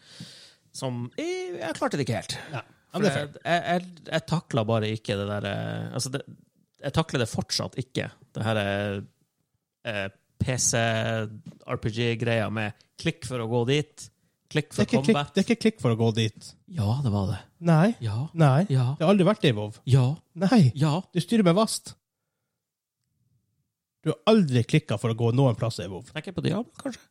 Som jeg, jeg klarte det ikke helt.
Ja,
For
men det er
jeg, jeg, jeg, jeg takla bare ikke det der eh, Altså, det, jeg takler det fortsatt ikke, det her eh, PC-RPG-greia med klikk for å gå dit, klikk
Det er,
for
ikke klikk,
combat.
det er ikke klikk for å gå dit.
Ja, det var det.
Nei.
Ja.
Nei.
Ja.
Det har aldri vært det i WoW.
Ja.
Nei.
Ja.
Du styrer med vast. Du har aldri klikka for å gå noen plasser i WoW.
Tenker jeg på Diablo, kanskje?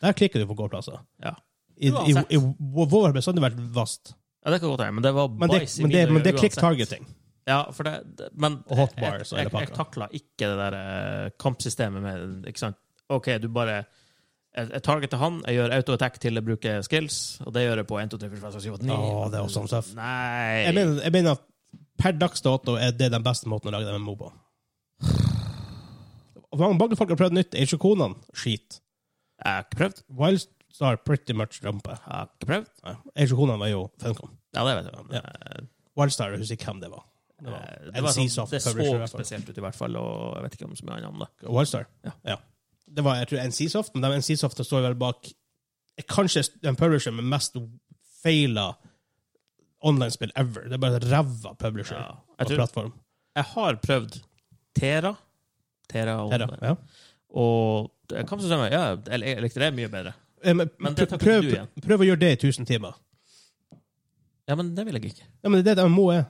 Der klikker du på gåplasser.
Ja.
I, i,
Uansett.
i, WoW har det bestandig vært vast.
Ja, Det kan godt være, men det var
Men det,
bæsj i
men det,
mine
men det er
øyne
klikk
uansett.
targeting.
Ja, for det, det men,
Og hotbars og hele
jeg, jeg, jeg,
pakka.
jeg takla ikke det der eh, kampsystemet med Ikke sant? OK, du bare Jeg, jeg targeter han, jeg gjør auto-attack til jeg bruker skills, og det gjør jeg på 1, 2, 3, 4, 5, 6, 7, 8, 9.
Å, det er awesome stuff.
Nei
Jeg mener, jeg mener at per dags dato er det den beste måten å lage dem med MOBA. Og Mange, mange folk har prøvd nytt. Age of Conan, skit.
Jeg har ikke prøvd.
Wildstar, pretty much rampe.
Jeg har ikke prøvd.
Ja. Age of Conan var jo Funcom.
Ja, det vet jeg. men,
Ja.
eh,
Wildstar, jeg husker ikke hvem det var. Det var,
eh, Det, var
NC
sånn,
Soft
det
Publisher, i
så
hvert fall.
spesielt ut, i hvert fall, og jeg vet ikke om så mye annet om det.
Wildstar?
Ja.
Det var, jeg tror, NCSoft, men de NCSoft står vel bak er kanskje den publisher med mest feila online-spill ever. Det er bare ræva publisher
Ja.
og
Jeg, tror,
plattform.
jeg har prøvd Tera. Tera og
Her, da. ja.
Og eh, kampsystemet ja, jeg jeg likte det mye bedre.
Eh, Men,
Men
pr-
det tar ikke
prøv,
du igjen.
prøv å gjøre det i 1000 timer.
Ja, men det vil jeg ikke.
Ja, men det er det MMO er.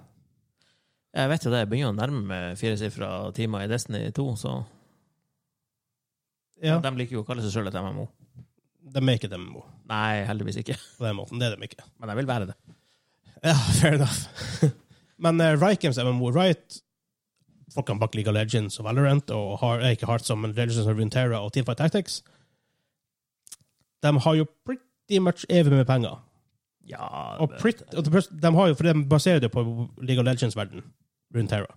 Jeg vet jo det, jeg begynner å nærme meg firesifra timer i Destiny 2, så
Ja,
de liker jo å kalle seg sjøl et MMO.
De er ikke et MMO
Nei, heldigvis ikke.
på den måten. Det er de ikke.
Men jeg vil være det.
Ja, fair enough. Men uh, Riot Games MMO Riot Folkene bak League of Legends og Valorant og har, eh, ikke Hearts, men Legends of Runeterra og Teamfight Tactics De har jo pretty much evig med penger.
Ja,
Og, pretty, og de, de har jo, for de baserer det på League of Legends-verden, Runeterra.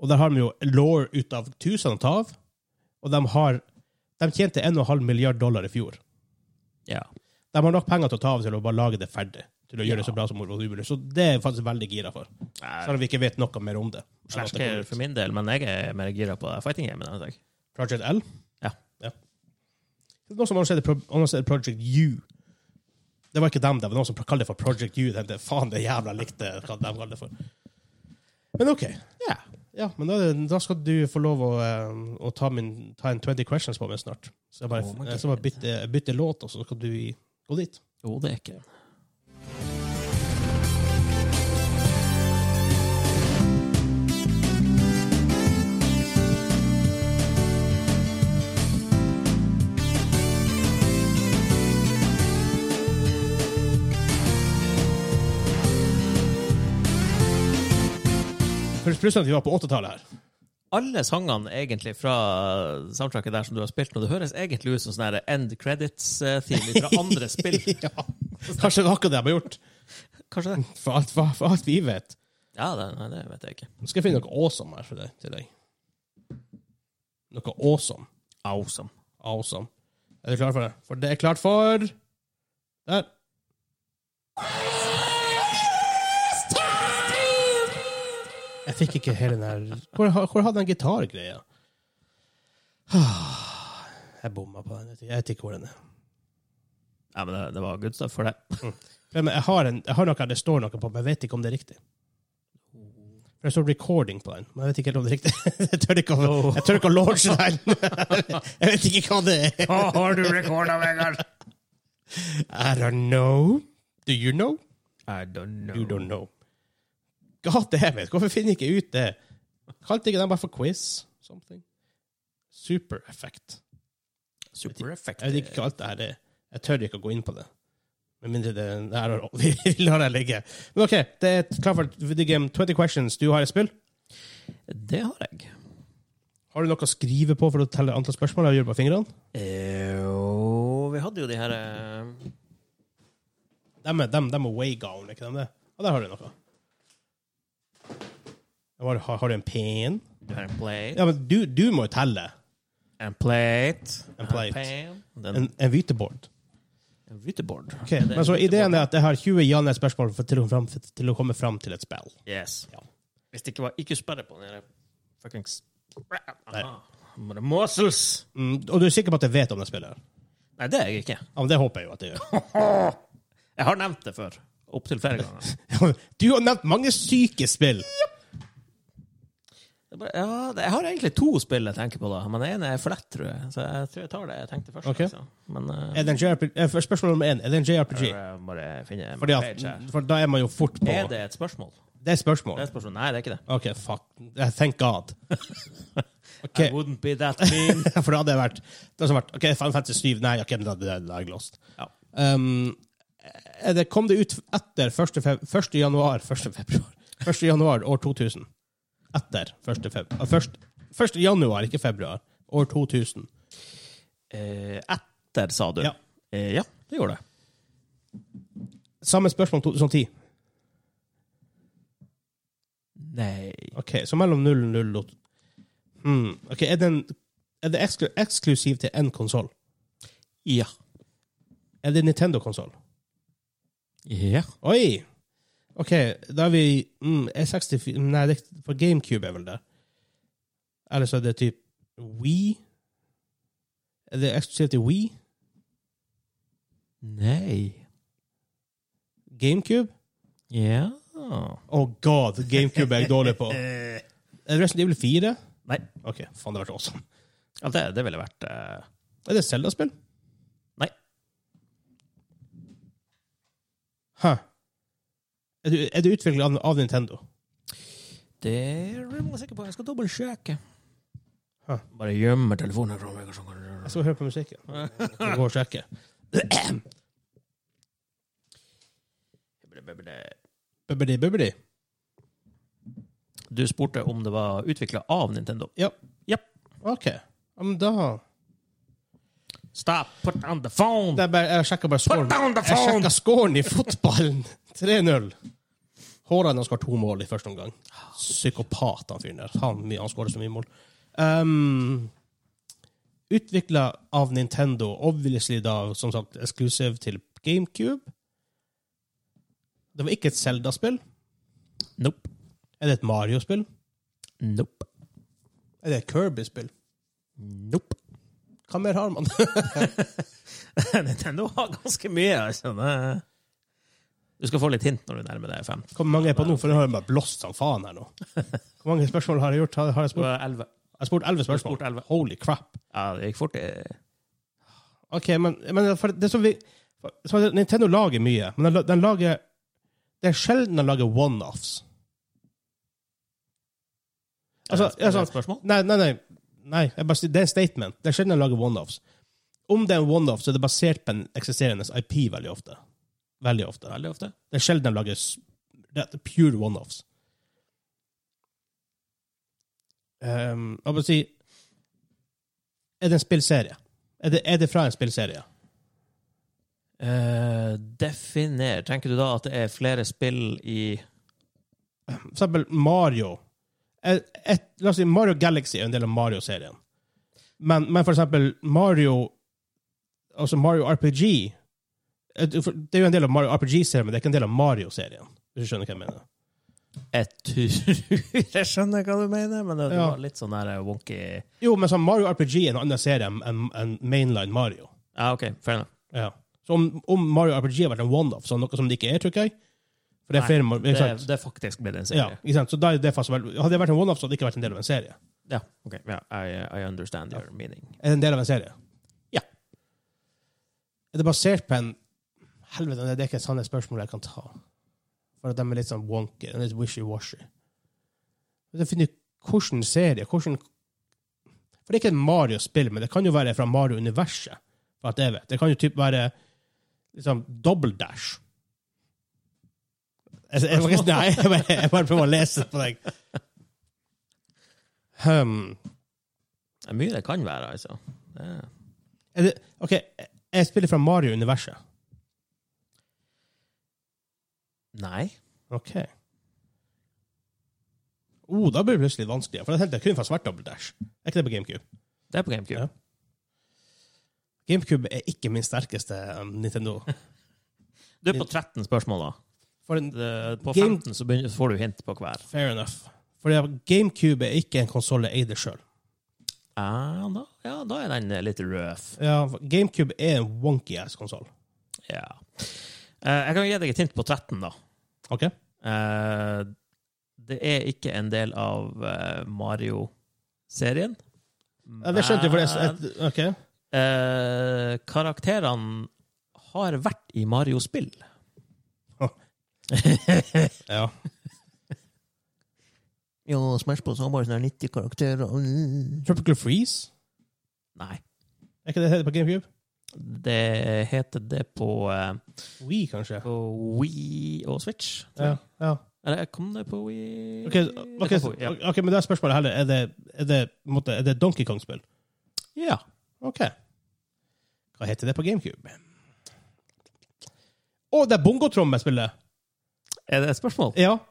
Og der har de jo law ut av tusen å ta av, og de har De tjente 1,5 milliard dollar i fjor.
ja.
De har nok penger til å ta av til å bare lage det ferdig. Til å gjøre det
Ja.
så bra som overhodet mulig. Så det er jeg faktisk veldig gira for.
Nei,
Selv om vi ikke vet noe mer om det. Enn at det
Slasker
kommer
for
ut.
min del, men jeg er mer gira på fighting gamen. enn jeg.
Project L?
Ja.
Det er noen som annonserer Pro- annonserer Project U. Det var ikke dem, det var noen som kaller det for Project U. Jeg Tenkte, faen, det er jævla likt det hva de kaller det for. Men OK.
Ja.
Ja, men da, er det- da skal du få lov å, eh, å ta, min, ta en 20 questions på meg snart. Så jeg bare,
Oh my
jeg skal bare
God.
bytte, bytte låt, og så skal du i- gå dit.
Jo, det er ikke
For Plutselig at vi var på 80-tallet her.
Alle sangene egentlig fra soundtracket der som du har spilt nå, det høres egentlig ut som sånn her end credits-theme fra andre spill.
ja. Kanskje det var akkurat det de har gjort.
Kanskje det?
For alt, for, for alt vi vet.
Ja, det, nei, det vet jeg ikke.
Nå skal jeg finne noe awesome her for deg, til deg. Noe awesome.
Awesome.
Awesome. Er du klar for det? For det er klart for Der. Jeg fikk ikke hele den her Hvor, ha- hvor hadde den gitargreia? Ah, Jeg bomma på den. Jeg vet ikke- Jeg vet ikke hvor den er.
Ja, men det, det var good stuff for det.
Ja, men Jeg har, en, jeg har noe her det står noe på, men jeg vet ikke om det er riktig. For Det står 'recording' på den, men jeg vet ikke helt om det er riktig. Jeg tør ikke å,
Oh.
jeg tør ikke å launche den! Jeg vet ikke hva det er.
Hva har du rekorda, Vegard?
I don't know. Do you know?
I don't know.
You don't know. God damn it, hvorfor finner jeg ikke ut det? Kalte ikke den bare for quiz? Something? Super effect.
Super effect.
Jeg vet ikke hva alt det her er. Jeg tør ikke å gå inn på det. Med mindre det det er Vi lar det ligge. Men OK, det er klart for The Game 20 Questions. Du har et spill.
Det har jeg.
Har du noe å skrive på for å telle antall spørsmål? Jeg gjør det på fingrene.
Jo, Eh, vi hadde jo de her eh,
Dem er, dem, dem er way gone, ikke dem det? Ja, der har du noe. Har, har, har du en pen?
Du har en plate.
Ja, men du, du må jo telle.
En plate.
En plate.
pen. Den,
En, en hvitebord.
en ryteboard.
Ok, men så ideen er at jeg har 20 ja-nei-spørsmål for, til, å fram- til å komme fram til et spill.
Yes.
Ja.
Hvis det ikke var ikke sperre på den der fuckings
Nei.
Aha. Men det er Muscles!
Mm, og du er sikker på at jeg vet om det spillet? her?
Nei, det er jeg ikke.
Ja, men det håper jeg jo at jeg gjør.
Jeg har nevnt det før. Opptil flere ganger.
Du har nevnt mange syke spill!
Det er bare, ja, det- jeg har egentlig to spill jeg tenker på, da. Men det ene er for lett, tror jeg. Så jeg tror jeg tar det jeg tenkte først.
Ok.
altså. Men eh,
Er det en JRPG? eh, for Spørsmål nummer én, er det en JRPG?
jeg må bare finne en
Fordi at,
page her.
for da er man jo fort på
Er det et spørsmål?
Det er
Det er
spørsmål.
et spørsmål. Nei, det er ikke det.
OK, fuck. Eh, Thank God. OK,
I wouldn't be that mean.
for da hadde jeg vært Det hadde vært OK, Final Fantasy 7. Nei, ok, men da da- da er jeg lost.
ja.
Um, er det, kom det ut etter 1. Feb 1. januar 1. februar 1. januar år 2000? Etter 1. februar 1. januar, ikke februar. År 2000.
Eh, etter, sa du.
Ja.
Eh, ja, det gjorde jeg.
Samme spørsmål 2010.
Nei
Ok, Så mellom 00 og hmm. Ok, Er det, en, er det eksklu eksklusiv til én konsoll?
Ja.
Er det Nintendo-konsoll?
Ja.
Oi! OK, da er vi mm, er 64 Nei, det er, for GameCube er vel det. Eller så er det typ We? Er det eksklusivt til We?
Nei.
GameCube?
Ja.
Oh god, GameCube er jeg dårlig på.
Eh,
Er det Eh, Resident Evil 4?
Nei,
OK, faen, det hadde vært awesome.
ja, det, det ville vært eh,
Er det Zelda-spill?
Nei.
Hæ? Er det, er det utviklet av, av Nintendo?
Det er jeg rimelig sikker på. Jeg skal dobbeltsjekke.
Hæ.
Bare gjemmer telefonen fra meg. og sånn.
Jeg skal høre på musikken. Jeg skal gå og sjekke. Bubbidi, bubbidi.
Du spurte om det var utvikla av Nintendo.
OK. Ja, men da
Stop! Put on the phone!
Det er bare, Jeg sjekka bare scoren.
down the
Jeg
phone!
sjekket scoren i fotballen. 3-0. Håran har skåret to mål i første omgang. Psykopat, han fyren der. Han, han skårer så mye mål. Um, Utvikla av Nintendo, obviously da, som sagt, exclusive til GameCube. Det var ikke et Zelda-spill.
Nope.
Er det et Mario-spill?
Nope.
Er det et Kirby-spill?
Nope.
Hva mer har man?
Nintendo har ganske mye. Altså. Det- Du skal få litt hint når du nærmer deg fem.
Hvor mange er på nå? For nå har jeg bare blåst som faen her nå. Hvor mange spørsmål har jeg gjort? Har har jeg
Du
spurt?
er elleve.
Jeg har spurt elleve
Du har
spørsmål.
spurt elleve.
Holy crap.
Ja, det gikk fort. eh.
Ok, men, men for det som vi for, som at Nintendo lager mye, men den, la- den lager Det er sjelden den lager one-offs. Altså,
Er det et
altså-
spørsmål?
Nei, nei, nei. nei jeg bare, sier- det er en statement. Det er sjelden den lager one-offs. Om det er en one-off, så er det basert på en eksisterende IP veldig ofte. Veldig ofte.
Veldig ofte.
Det er sjelden den lager s- det er pure one-offs. Um, jeg bare si Er det en spillserie? Er det, er det fra en spillserie?
Eh, definer. Tenker du da at det er flere spill i
For eksempel Mario. Et, et, la oss si Mario Galaxy er en del av Mario-serien. Men, men for eksempel Mario Altså Mario RPG et- for- Det er jo en del av Mario RPG-serien, men det er ikke en del av Mario-serien. Hvis du skjønner hva jeg mener.
Jeg tror Jeg skjønner hva du mener, men det, det
Ja.
var litt sånn der wonky
Jo, men sånn Mario RPG er en annen serie enn enn mainline Mario.
Ja, OK. Fair enough.
Ja. Så om, om Mario RPG har vært en one-off, så er det noe som det ikke er, tror ikke jeg For det er
Nei,
flere Mar-
Det,
ikke sant?
det er faktisk blitt en
Ja,
serie.
ikke sant? Så da er det fast, vel- Hadde det vært en one-off, så hadde det ikke vært en del av en serie.
Ja. ok. Ja, I, I understand your meaning.
Er det en del av en serie?
Ja.
Er det basert på en Helvete, det er ikke et sånt spørsmål jeg kan ta. For at de er litt sånn wonky. de er Litt wishy-washy. Men Jeg finner ut hvilken serie hvordan... For det er ikke et Mario-spill, men det kan jo være fra Mario-universet. For at jeg vet. Det kan jo typ være liksom Double Dash. Altså, jeg, jeg, nei, jeg bare, jeg bare prøver å lese på deg. Hmm.
Det er mye det kan være, altså. Det er
Er det, ok, jeg spiller fra Mario-universet.
Nei.
Ok. Oh, da blir det plutselig vanskeligere, for jeg tenkte jeg kun fra svart Double Dash. Er ikke det på GameCube?
Det er på GameCube.
Ja. GameCube er ikke min sterkeste um, Nintendo.
Du er på 13 spørsmål, da.
For en,
Det- På
Game-
15 så, begynner, så får du hint på hver.
fair enough. For ja, GameCube er ikke en konsoll jeg eide sjøl.
Ja da, ja, da er den eh, litt røff.
Ja, for GameCube er en wonky-ass konsoll.
Ja. Eh, Jeg kan gi deg et hint på 13, da.
Ok?
Eh, Det er ikke en del av eh, Mario-serien.
Ja, det skjønte jeg, for det er
Men,
et, Ok.
eh, Karakterene har vært i Mario-spill.
Ja.
Ja, Smash Bros. har bare sånne 90 karakterer.
Tropical Freeze?
Nei.
Er ikke det det heter på GameCube?
Det heter det på, eh,
We, kanskje?
på Wii og Switch. tror
Ja.
jeg.
ja.
Eller kom det på Wii?
Ok,
Det
ok,
kom på Wii, ja.
ok, men da er spørsmålet heller Er det, er det, på en måte, er det Donkey Kong-spill?
ja.
Ok. Hva heter det på GameCube? Å, det er bongotrommespillet!
Er det et spørsmål?
Ja.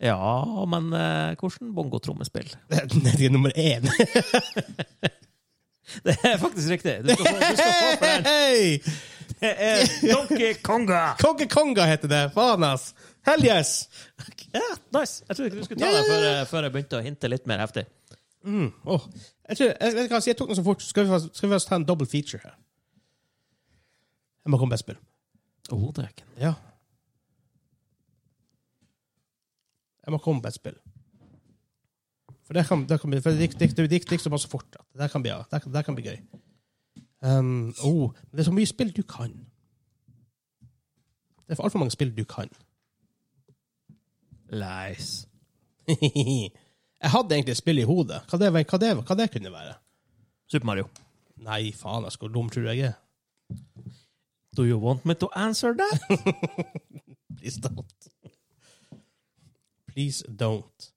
Ja, men eh, hvordan bongotrommespill?
Det er- det er nummer én.
Det er faktisk riktig. Du skal få, du skal få for den.
Hei!
Det er Donkey Konga!
Konge-konga heter det! Faen, ass! Hell yes!
Ja, nice. Jeg trodde ikke du skulle ta det før, eh, før jeg begynte å hinte litt mer heftig.
Mm. åh. Jeg, tror, jeg, vet du hva, jeg tok noe så fort. Skal vi, fast- skal vi fast ta en double feature her? Jeg må komme med et spill.
Oh, dæken.
Ja. Jeg må komme på et spill. For det kan, det kan bli, for det gikk- det gikk- det gikk- det gikk såpass fort. at Det der kan bli, det der kan, det der kan bli gøy. Um, oh, men det er så mye spill du kan. Det er altfor mange spill du kan.
Leis.
jeg hadde egentlig et spill i hodet. Hva det, hva det, hva det kunne være?
Super Mario.
Nei, faen, jeg skal dum, tror jeg jeg er.
Do you want me to answer that?
Please don't. Please don't.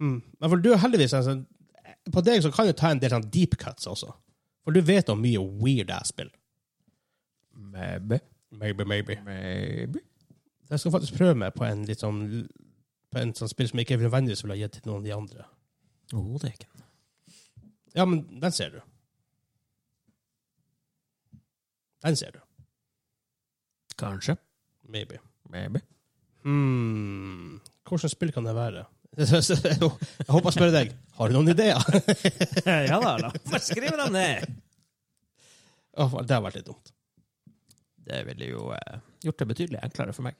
Hmm. Men for du er heldigvis en sånn På deg så kan du ta en del sånn deep cuts også. For du vet om mye weird ass-spill.
Maybe.
Maybe, maybe.
Maybe.
Jeg skal faktisk prøve meg på en litt sånn På en sånn spill som jeg ikke nødvendigvis ville ha gitt til noen av de andre.
Oh, det er ikke den.
Ja, men den ser du. Den ser du.
Kanskje.
Maybe.
Maybe.
Hmm. Hvilket spill kan det være? Jeg håper jeg spør deg. Har du noen ideer?
ja da, da. Bare skriv dem ned.
Åh, det har vært litt dumt.
Det ville jo eh, gjort det betydelig enklere for meg.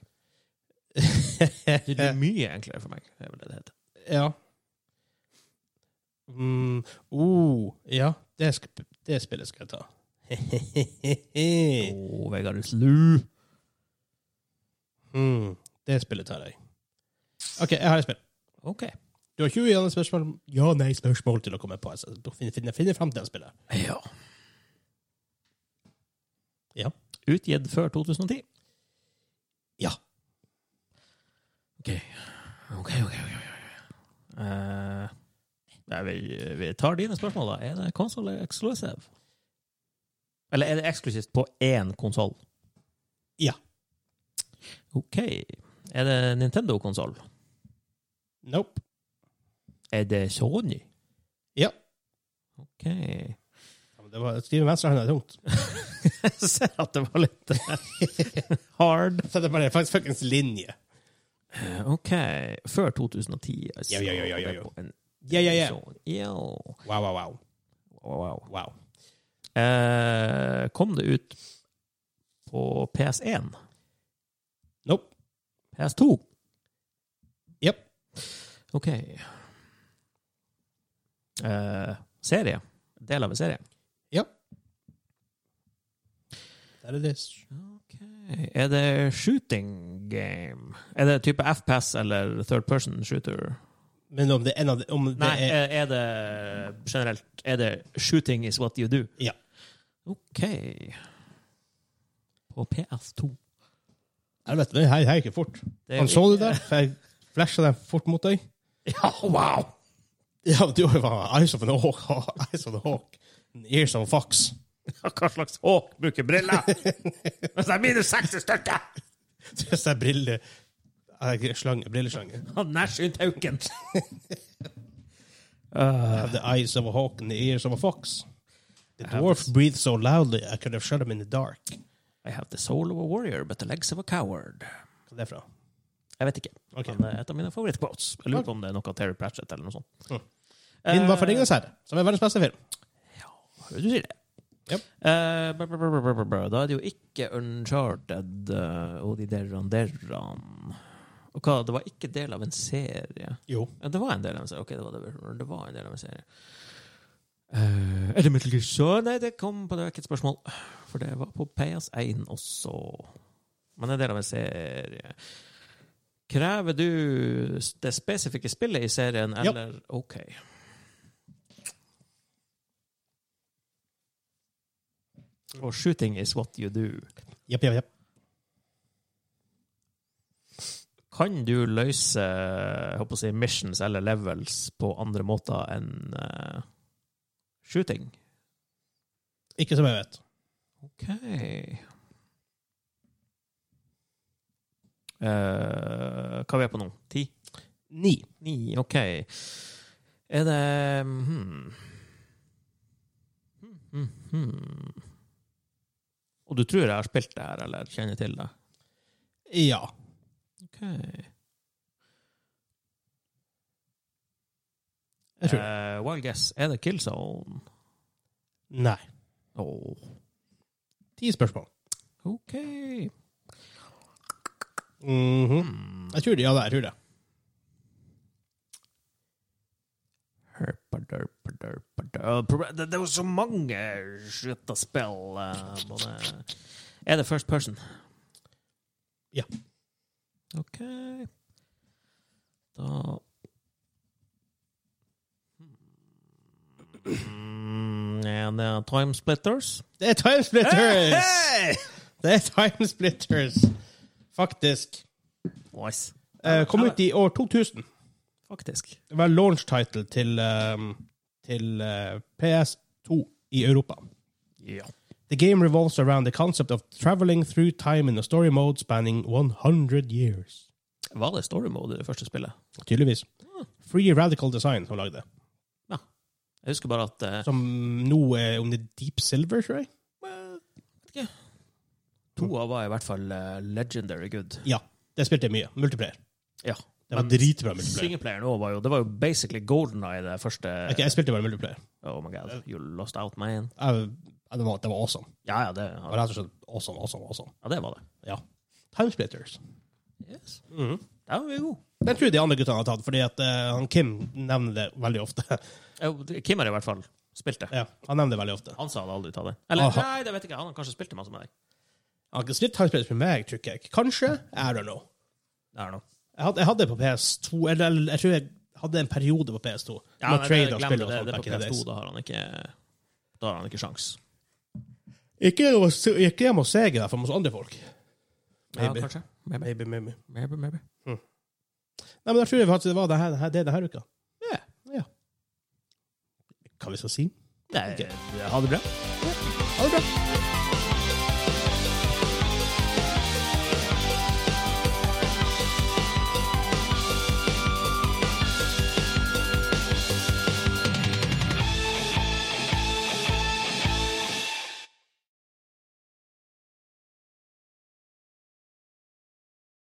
Betydelig mye enklere for meg, er vel det det heter.
Ja. Mm, oh, ja, det, sk det spillet skal jeg ta.
Å, Vegard, du slu.
mm, det spillet tar jeg. OK, jeg har et spill.
OK.
Du har 20 igjen spørsmål ja-nei-spørsmål til å komme på. Altså, du finner, finner, finner fram til det spillet.
Ja.
Ja.
Utgitt før 2010.
Ja.
OK. OK, OK. ok, ok. Eh, nei, vi, vi tar dine spørsmål, da. Er det konsoll exclusive? Eller er det eksklusivt på én konsoll?
Ja.
OK. Er det Nintendo-konsoll?
Nope.
Er det Sony?
Ja.
OK. Jeg
Ja, men Det var, skrive med venstrehånda er tungt.
ser at det var litt eh, hard.
Så det er bare faktisk fuckings linje.
Eh, OK. Før 2010, altså.
Ja, ja, ja, ja, ja, ja.
Det er på en
Ja, ja, ja.
Sony. Ja.
Wow, wow, wow.
Wow, wow.
wow.
Eh, kom det ut på PS1?
Nope.
PS2?
Japp.
OK. Eh, serie? Del av en serie?
Der er det.
Ok. Er det shooting game? Er det type FPS eller third person shooter?
Men om det er en av de om det
Nei, eh,
er,
er, er det generelt Er det shooting is what you do?
Ja.
OK. På PS2
Jeg vet, det her her gikk jo fort.
Det er
Han
jo
så
ikke-
du der? For jeg flasha den fort mot deg.
Ja, wow!
Ja, du var jo Eyes of an Hawk. Eyes of an Hawk. And Ears of a Fox.
Hva slags håk bruker briller? Hvis det er minus 60 stykker!
Det er sånn brille... eh, Slange, brilleslange.
Han nasjer ut hauken.
Have the eyes of a hawk and the ears of a fox. The dwarf breathed so loudly I could have shut him in the dark.
I have the soul of a warrior, but the legs of a coward.
Hva er det fra?
Jeg vet ikke.
Ok.
Men det er et av mine favorittquotes. Jeg lurer på om det er noe av Terry Pratchett eller noe sånt.
Hm. Min var for Ringenes herre, som er verdens beste film.
Eh, Du sier det.
Japp.
Eh, bra, bra, bra, bra, bra, bra, bra. Da er det jo ikke Uncharted eh, og de derran derran. Og hva, det var ikke del av en serie?
Jo.
Ja, det var en del av en serie. Ok, det var, det, det var en del av en serie. Eh, er det Metal Gear Solid? Nei, det kom på det var ikke et spørsmål. For det var på PS1 også. Men det er en del av en serie. Krever du det spesifikke spillet i serien,
Ja.
eller OK. Og shooting is what you do.
Jepp, jepp, jepp.
Kan du løse jeg håper å si, missions eller levels på andre måter enn eh, shooting?
Ikke som jeg vet.
OK. Eh, hva er vi på nå? Ti?
Ni.
Ni, OK. Er det hmm. Hmm, hmm, hmm. Og du tror jeg har spilt det her, eller kjenner til det?
Ja.
Okay.
Jeg tror det.
Eh, wild guess. Er det Killzone?
Nei.
Åh,
Ti spørsmål.
OK.
Mhm.
Hmm. Mhm.
Jeg tror det. Ja, det er- jeg tror det.
Herpaderpaderpader- Det det var så mange skjøtta spill. eh, Både Er det first person?
Ja.
OK Da mm, Er det Time Splitters?
Det er Time
Eh,
Splitters!
Hey!
Det er Time Splitters, faktisk.
Nice.
Eh, kom ut i år 2000.
Faktisk.
Det var launch title til, ehm, til eh, PS2 i Europa.
Ja.
The game revolves around the concept of traveling through time in a story mode spanning 100 years.
Var det story mode i det første spillet?
Tydeligvis. Free Radical Design som lagde det.
Jeg husker bare at eh,
Som nå er om det er Deep Silver, tror jeg.
to av var i hvert fall eh, legendary good.
Ja. Det spilte jeg mye. Multiplayer.
Ja.
Det var dritbra multiplayer.
Singleplayer nå var jo Det var jo basically golden eye, det første
Ok, jeg spilte bare multiplayer.
Oh my god, you lost out, man.
Jeg, jeg, det, var, det var awesome.
Ja, ja, det,
Det var rett og slett awesome, awesome, awesome.
ja, det var det.
Ja. Timesplitters.
Yes.
Mhm.
Der var vi gode.
Den tror jeg de andre guttene har tatt, fordi at eh, han Kim nevner det veldig ofte.
Eh, Kim har i hvert fall spilt det.
ja, han nevner det veldig ofte.
Han sa han aldri ta det. Eller
Aha.
nei, det vet jeg ikke. Han har kanskje spilt det masse med deg.
Han har ikke spilt Timesplitters med meg, tror jeg. Kanskje? I don't know.
I don't know.
Jeg hadde, jeg hadde det på PS2, eller, eller jeg tror jeg hadde en periode på PS2.
Ja,
Med
men
trade
det,
og
glem
spill
det.
og sånt
Det det er
back
på
in the
PS2.
days.
Da har han ikke Da har han ikke sjans.
Ikke gjennom å se- ikke gjennom å se det for hos andre folk. Maybe.
Ja, kanskje. Maybe.
Maybe, maybe. Hmm.
Maybe, maybe.
Nei, men jeg tror faktisk det var det, her, det, her, det denne uka. Ja. ja. Hva vi skal si?
Nei,
Ok.
ha det bra.
Ha det bra.